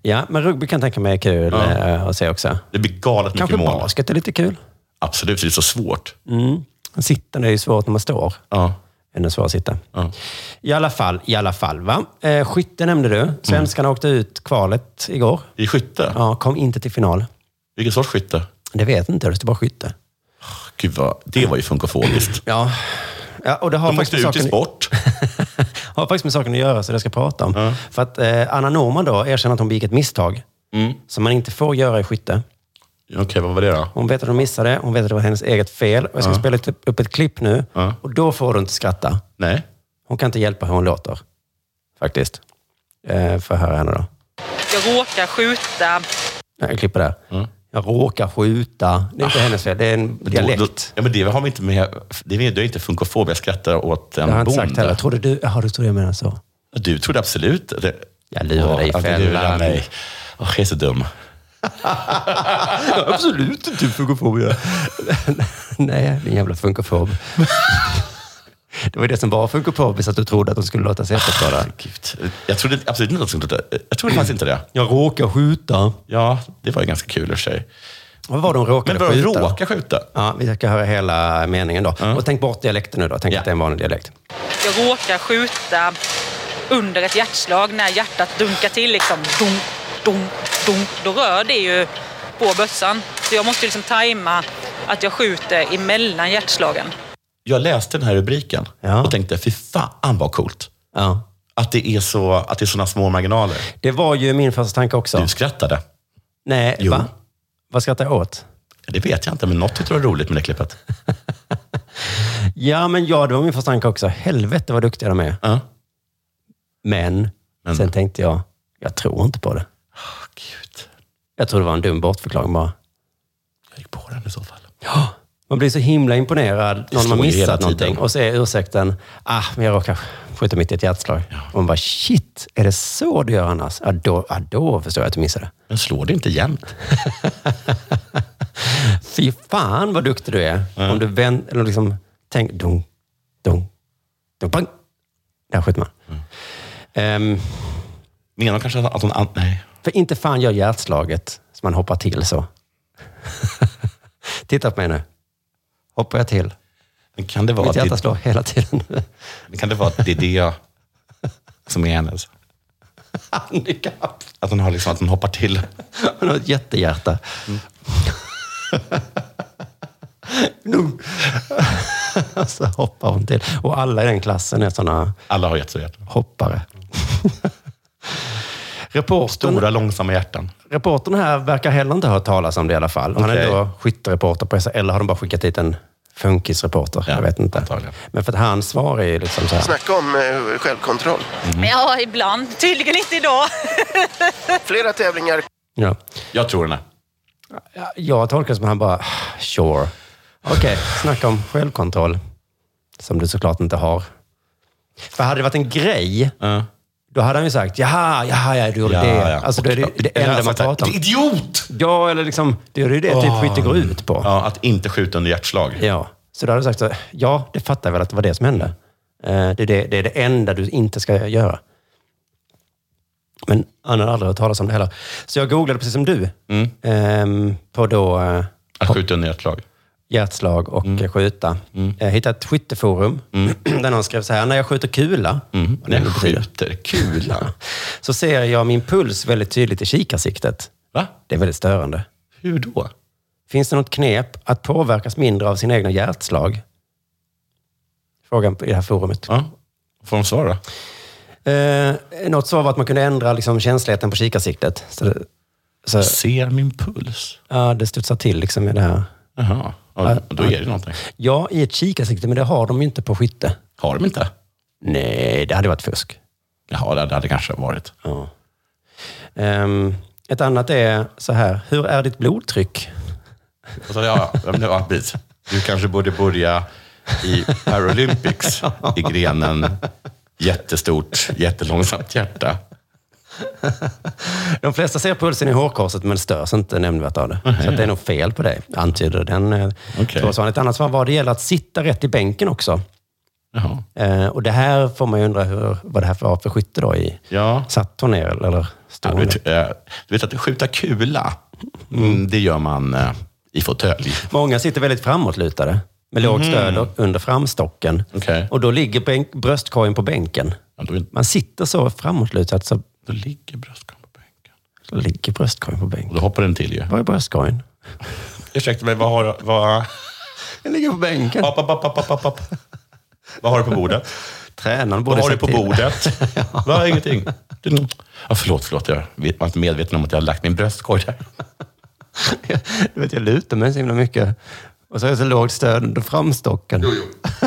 Speaker 6: Ja, men rugby kan jag tänka mig är kul eh, att se också.
Speaker 4: Det blir galet
Speaker 6: Kanske
Speaker 4: mycket mål.
Speaker 6: basket är lite kul.
Speaker 4: Absolut, det är så svårt.
Speaker 6: Mm. Sittande är ju svårt när man står.
Speaker 4: Ja.
Speaker 6: Ännu svårare att sitta.
Speaker 4: Ja.
Speaker 6: I alla fall, i alla fall. Va? Eh, skytte nämnde du. Svenskarna åkte ut kvalet igår.
Speaker 4: I skytte?
Speaker 6: Ja, kom inte till final.
Speaker 4: Vilken sorts skytte?
Speaker 6: Det vet inte jag, det står bara skytte.
Speaker 4: Gud, vad, det var ju funkofobiskt.
Speaker 6: Ja. ja och det har
Speaker 4: De
Speaker 6: faktiskt
Speaker 4: måste
Speaker 6: med
Speaker 4: ut i
Speaker 6: saken,
Speaker 4: sport.
Speaker 6: har faktiskt med saken att göra, så det ska jag prata om. För att eh, Anna Norman då erkänner att hon begick ett misstag
Speaker 4: Mm.
Speaker 6: som man inte får göra i skytte.
Speaker 4: Okej, vad var det då?
Speaker 6: Hon vet att hon missade, hon vet att det var hennes eget fel. Och jag ska spela ett- upp ett klipp nu
Speaker 4: Ja.
Speaker 6: och då får du inte skratta.
Speaker 4: Nej.
Speaker 6: Hon kan inte hjälpa hur hon låter, faktiskt. Eh, får jag höra henne då.
Speaker 10: Jag råkar skjuta.
Speaker 6: Nej, jag klipper där. Jag råkar skjuta. Det är inte hennes fel, det är en dialekt.
Speaker 4: Mm. Ah. Då, då, ja, men det har vi inte med... Det är, du är inte funkofob, jag skrattar åt en
Speaker 6: det har jag inte sagt
Speaker 4: bonde.
Speaker 6: heller. Trodde du, jaha, du trodde jag menade så.
Speaker 4: Du trodde absolut... Det,
Speaker 6: Jag lurar dig i
Speaker 4: ja, du lurar
Speaker 6: fällan.
Speaker 4: mig. Åh, jag är så dum.
Speaker 6: Absolut inte funkofob. Nej, din jävla funkofob. det var det som var funkofobiskt, att du trodde att de skulle låta sig efterfråga.
Speaker 4: Gud. Jag trodde absolut inte att jag skulle... Jag trodde faktiskt inte det.
Speaker 6: Jag råkar skjuta.
Speaker 4: Ja, det var ju ganska kul i och för sig.
Speaker 6: Vad var det hon råkade
Speaker 4: Men vad
Speaker 6: skjuta?
Speaker 4: råka skjuta?
Speaker 6: Ja, vi ska höra hela meningen då. Och tänk bort dialekten nu då. Tänk
Speaker 4: Ja.
Speaker 6: att det är en vanlig dialekt.
Speaker 10: Jag råkar skjuta under ett hjärtslag när hjärtat dunkar till liksom. Dunk, dunk, dunk. Då rör det ju
Speaker 3: på bössan. Så jag måste ju liksom tajma att jag skjuter emellan hjärtslagen.
Speaker 6: Jag läste den här rubriken och tänkte, fy fan vad coolt. Att det är så, att det är såna små marginaler.
Speaker 4: Det var ju min första tanke också.
Speaker 6: Du skrattade.
Speaker 4: Nej, va? Vad skrattar jag åt?
Speaker 6: Det vet jag inte, men något tyckte du var roligt med det klippet.
Speaker 4: Ja, men ja, det var min första tanke också. Helvete vad duktiga de är. Men, sen tänkte jag, jag tror inte på det. Jag tror det var en dum bortförklaring bara.
Speaker 6: På den i så fall.
Speaker 4: Ja, man blir så himla imponerad när man
Speaker 6: slår
Speaker 4: har
Speaker 6: ju hela
Speaker 4: missat
Speaker 6: tiden.
Speaker 4: någonting. Och så är ursäkten, ah, men jag råkar skjuta mitt i ett hjärtslag. Och man bara, shit, är det så du gör annars? Ja, då, ja, då förstår jag att du missade.
Speaker 6: Men slår det inte jämnt?
Speaker 4: Fy fan vad duktig du är. Om du vänder, eller liksom, tänk, dunk, dunk, dunk, bang. Där skjuter man. Ehm,
Speaker 6: Menar de kanske att hon... an- Nej.
Speaker 4: för inte fan gör hjärtslaget så man hoppar till så. Titta på mig nu. Hoppar jag till?
Speaker 6: Men Kan det vara
Speaker 4: Mitt
Speaker 6: att
Speaker 4: hjärta
Speaker 6: det,
Speaker 4: slår hela tiden.
Speaker 6: men kan det, vara att det är det som är hennes?
Speaker 4: Handikapp.
Speaker 6: Att hon, har liksom, att hon hoppar till?
Speaker 4: Han har ett jättehjärta. Mm. så hoppar hon till. Och alla i den klassen är sådana
Speaker 6: Alla har jättehjärtan.
Speaker 4: hoppare. Reportern,
Speaker 6: Stora, långsamma hjärtan.
Speaker 4: reportern här verkar heller inte ha hört talas om det i alla fall. Och Han är
Speaker 6: Okej.
Speaker 4: då skyttereporter på SR, eller har de bara skickat dit en funkisreporter? jag vet inte.
Speaker 6: antagligen.
Speaker 4: Men för att hans svar är ju liksom så här.
Speaker 11: Snacka om eh, självkontroll.
Speaker 3: Ja, ibland. Tydligen inte idag.
Speaker 11: Flera tävlingar.
Speaker 4: Ja.
Speaker 6: Jag tror den här.
Speaker 4: Jag tolkar det som att han bara, sure. Okej, snacka om självkontroll. Som du såklart inte har. För hade det varit en grej, då hade han ju sagt, jaha, jaha, ja, du gjorde
Speaker 6: Ja,
Speaker 4: det.
Speaker 6: ja.
Speaker 4: Alltså, då är det ju det
Speaker 6: Eller
Speaker 4: enda man
Speaker 6: alltså,
Speaker 4: pratar om.
Speaker 6: Idiot!
Speaker 4: Ja, eller liksom, det är ju det typ skytte går ut på.
Speaker 6: Ja, att inte skjuta under hjärtslag.
Speaker 4: Ja. Så då hade du sagt, så, här, ja, det fattar jag väl att det var det som hände. Eh, Det är det, det är det enda du inte ska göra. Men han hade aldrig hört talas om det heller. Så jag googlade precis som du.
Speaker 6: Mm.
Speaker 4: ehm, På då... eh,
Speaker 6: Att skjuta under Mm. hjärtslag.
Speaker 4: hjärtslag och eh, skjuta. Jag hittade ett skytteforum där någon skrev så här, när jag skjuter kula, vad det
Speaker 6: Mm. När
Speaker 4: nu
Speaker 6: jag
Speaker 4: betyder,
Speaker 6: skjuter kulan.
Speaker 4: så ser jag min puls väldigt tydligt i kikarsiktet.
Speaker 6: Va?
Speaker 4: Det är väldigt störande.
Speaker 6: Hur då?
Speaker 4: Finns det något knep att påverkas mindre av sina egna hjärtslag? Frågan i det här forumet.
Speaker 6: Ja. Får de svar då?
Speaker 4: Eh, något så var att man kunde ändra liksom, känsligheten på kikarsiktet. Så, det- så,
Speaker 6: Ser min puls.
Speaker 4: ja, det studsar till liksom i det här.
Speaker 6: Jaha. Ja, då är det någonting.
Speaker 4: Ja, i ett kikarsikte, men det har de ju inte på skytte.
Speaker 6: Har de inte?
Speaker 4: Nej, det hade varit fusk.
Speaker 6: Jaha, det hade det kanske varit.
Speaker 4: Ja. Ehm, ett annat är så här, hur är ditt blodtryck?
Speaker 6: Och så, ja, ja, men det var precis. Du kanske borde börja i Paralympics i grenen jättestort, jättelångsamt hjärta.
Speaker 4: De flesta ser pulsen i hårkorset men störs inte nämnvärt av det. Så att det är nog fel på dig, antyder den. eh,
Speaker 6: Okej.
Speaker 4: trådsvararen. Ett annat svar var det gäller att sitta rätt i bänken också.
Speaker 6: Jaha.
Speaker 4: Eh, och det här får man ju undra hur, vad det här var för skytte då. I,
Speaker 6: Ja.
Speaker 4: Satt hon ner eller stod
Speaker 6: Ja, du,
Speaker 4: hon ner?
Speaker 6: vet, eh, du vet att skjuta kula, mm, det gör man eh, i fåtölj. Mhm.
Speaker 4: Många sitter väldigt framåtlutade med låg stöd och- eh, under framstocken.
Speaker 6: Okej.
Speaker 4: Och då ligger bänk, bröstkorgen på bänken.
Speaker 6: Ja, då, är-
Speaker 4: Man sitter så framåtlutad så
Speaker 6: då ligger bröstkorgen på bänken.
Speaker 4: så ligger bröstkorgen på bänken.
Speaker 6: Och då hoppar den till ju.
Speaker 4: Var är bröstkorgen?
Speaker 6: Ursäkta mig, vad har du... Vad...
Speaker 4: Den ligger på bänken.
Speaker 6: App, app, app, app, app, app. Vad har du på bordet?
Speaker 4: Tränaren borde
Speaker 6: Vad har du
Speaker 4: sagt
Speaker 6: på
Speaker 4: till.
Speaker 6: bordet? Va, ingenting. Du- Ja, förlåt, förlåt. Jag var inte medveten om att jag hade lagt min bröstkorg där.
Speaker 4: du vet, jag lutar mig så himla mycket. Och så har jag så lågt stöd under framstocken.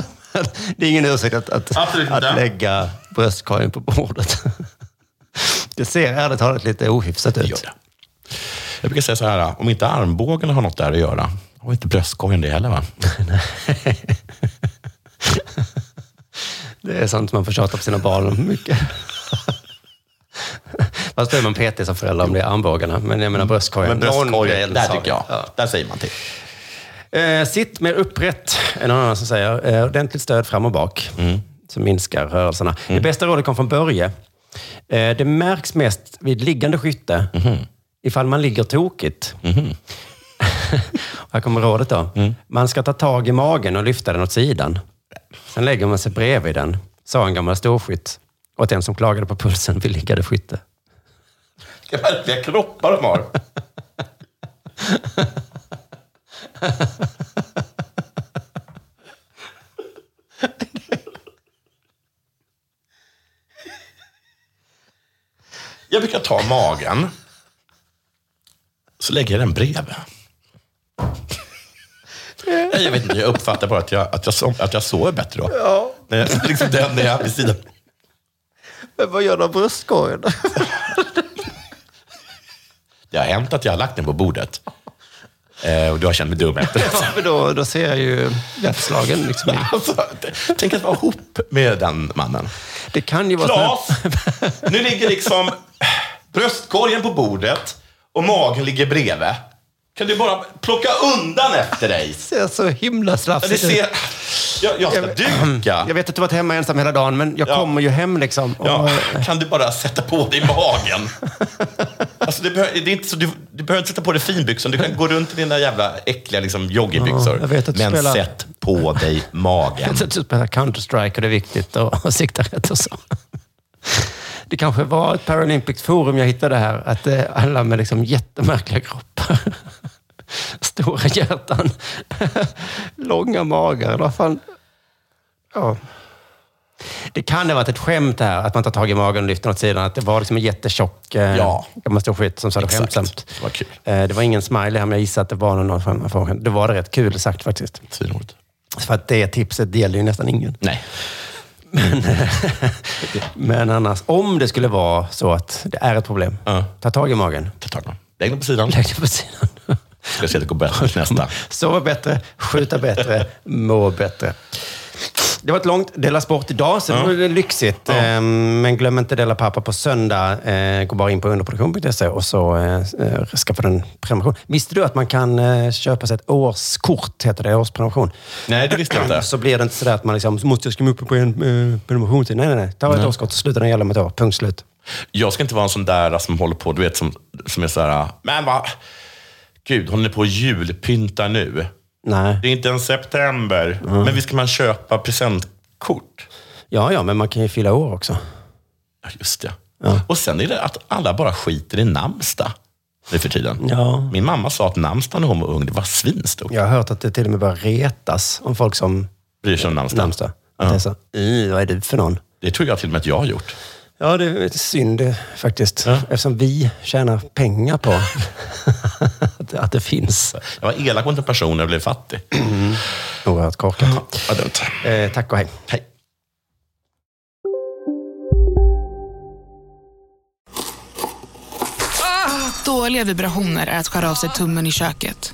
Speaker 4: det är ingen ursäkt att, att,
Speaker 6: Absolut inte.
Speaker 4: att lägga bröstkorgen på bordet. det ser ärligt talat lite ohyfsat
Speaker 6: gör
Speaker 4: ut.
Speaker 6: det. Jag brukar säga så här, om inte armbågen har något där att göra, har inte bröstkorgen det heller va?
Speaker 4: Det är sånt man får tjata på sina barn om mycket. Fast då är man petig som förälder om det är armbågarna. Men jag menar bröstkorgen.
Speaker 6: Mm. Men
Speaker 4: Någon
Speaker 6: bröstkorgen,
Speaker 4: del
Speaker 6: där
Speaker 4: sa
Speaker 6: tycker
Speaker 4: vi.
Speaker 6: jag.
Speaker 4: Ja.
Speaker 6: Där säger man till.
Speaker 4: Eh, sitt mer upprätt, är någon annan som säger. Eh, ordentligt stöd fram och bak,
Speaker 6: Mm.
Speaker 4: som minskar rörelserna. Det bästa rådet kom från Börje. Eh, det märks mest vid liggande skytte,
Speaker 6: Mm-hmm.
Speaker 4: ifall man ligger tokigt. Här kommer rådet då.
Speaker 6: Mm.
Speaker 4: Man ska ta tag i magen och lyfta den åt sidan. Sen lägger man sig bredvid den, sa en gammal storskytt åt den som klagade på pulsen vid liggande skytte.
Speaker 6: Vilka verkliga kroppar de har. Jag brukar ta magen. Så lägger jag den bredvid. Nej, jag vet inte, jag uppfattar bara att jag, att jag, som, att jag sover bättre då.
Speaker 12: Ja.
Speaker 6: När jag, liksom den när jag är vid sidan.
Speaker 12: Men vad gör de bröstkorgen?
Speaker 6: Det har hänt att jag har lagt den på bordet. Eh, och du har känt mig dum efter
Speaker 4: Ja, men då, då ser jag ju hjärtslagen. Liksom.
Speaker 6: Alltså, tänk att vara ihop med den mannen.
Speaker 4: Det kan ju vara...
Speaker 6: Klas! Nu ligger liksom bröstkorgen på bordet och magen ligger bredvid. Kan du bara plocka undan efter dig?
Speaker 4: ser så himla
Speaker 6: Ja, det
Speaker 4: slafsigt
Speaker 6: ser... Jag, jag ska duka.
Speaker 4: Jag vet att du varit hemma ensam hela dagen, men jag kommer ju hem liksom. Och,
Speaker 6: Ja, kan du bara sätta på dig magen? Alltså, det behö- det är inte så, du, du behöver inte sätta på dig finbyxor. Du kan gå runt i dina jävla äckliga liksom, joggingbyxor.
Speaker 4: Ja, jag vet att du
Speaker 6: men
Speaker 4: spelar-
Speaker 6: sätt på dig magen.
Speaker 4: Jag du spelar Counter-Strike och det är viktigt att, att sikta rätt och så. Det kanske var ett Paralympics forum jag hittade här, att eh, alla med liksom jättemärkliga kroppar. Stora hjärtan, långa magar. eller Vad fan? Ja. Det kan ha varit ett skämt här, att man tar tag i magen och lyfter åt sidan. Att det var liksom en jättetjock eh,
Speaker 6: Ja.
Speaker 4: gammal stor skit som sa det
Speaker 6: Exakt.
Speaker 4: skämtsamt.
Speaker 6: Det var kul.
Speaker 4: Eh, Det var ingen smiley här, men jag gissar att det var någon form av skämt. Det var rätt kul sagt faktiskt.
Speaker 6: Svinroligt.
Speaker 4: För att det tipset det gäller ju nästan ingen.
Speaker 6: Nej.
Speaker 4: Men annars, om det skulle vara så att det är ett problem, ta tag i magen.
Speaker 6: Ta tag i den. Lägg den på sidan.
Speaker 4: Lägg den på sidan.
Speaker 6: Ska jag se att det går bättre till nästa.
Speaker 4: Sova bättre, skjuta bättre, må bättre. Det var ett långt Dela Sport idag, så det var lite lyxigt. Ehm, Men glöm inte Dela Pappa på söndag. Eh, Gå bara in på underproduktion.se och så eh, eh, skaffa den prenumeration. Visste du att man kan eh, köpa sig ett årskort, heter det, årsprenumeration?
Speaker 6: Nej, det visste jag inte.
Speaker 4: Så blir det inte sådär att man liksom, måste jag skriva upp mig på en eh, prenumerationstid? Nej, nej, nej. Ta ett
Speaker 6: Nej.
Speaker 4: årskort och sluta den gäller om ett år. Punkt slut.
Speaker 6: Jag ska inte vara en sån där som håller på, du vet, som, som är så här, men vad, gud, håller ni på och julpynta nu?
Speaker 4: Nej.
Speaker 6: Det är inte ens september, men visst kan man köpa presentkort?
Speaker 4: Ja, ja, men man kan ju fylla år också.
Speaker 6: Ja, just det. Och sen är det att alla bara skiter i namnsdag nu för tiden.
Speaker 4: Ja.
Speaker 6: Min mamma sa att namnsdagen när hon var ung, det var svinstort.
Speaker 4: Jag har hört att det till och med börjar retas om folk som
Speaker 6: Bryr sig om namnsdag.
Speaker 4: namnsdag. Att det är så, "I, vad är du för någon?
Speaker 6: Det tror jag till och med att jag har gjort.
Speaker 4: Ja, det är synd eh, faktiskt. Eftersom vi tjänar pengar på att, att det finns. Mm.
Speaker 6: Jag var elak mot en person när jag blev fattig.
Speaker 4: Oerhört korkat.
Speaker 6: Ja, dumt.
Speaker 4: Eh, tack och hej.
Speaker 6: Hej.
Speaker 2: Dåliga vibrationer är att skära av sig tummen i köket.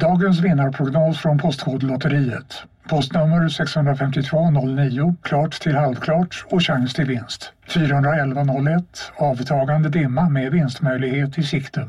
Speaker 3: Dagens vinnarprognos från Postkodlotteriet. Postnummer 65209, klart till halvklart och chans till vinst. 41101, avtagande dimma med vinstmöjlighet i sikte.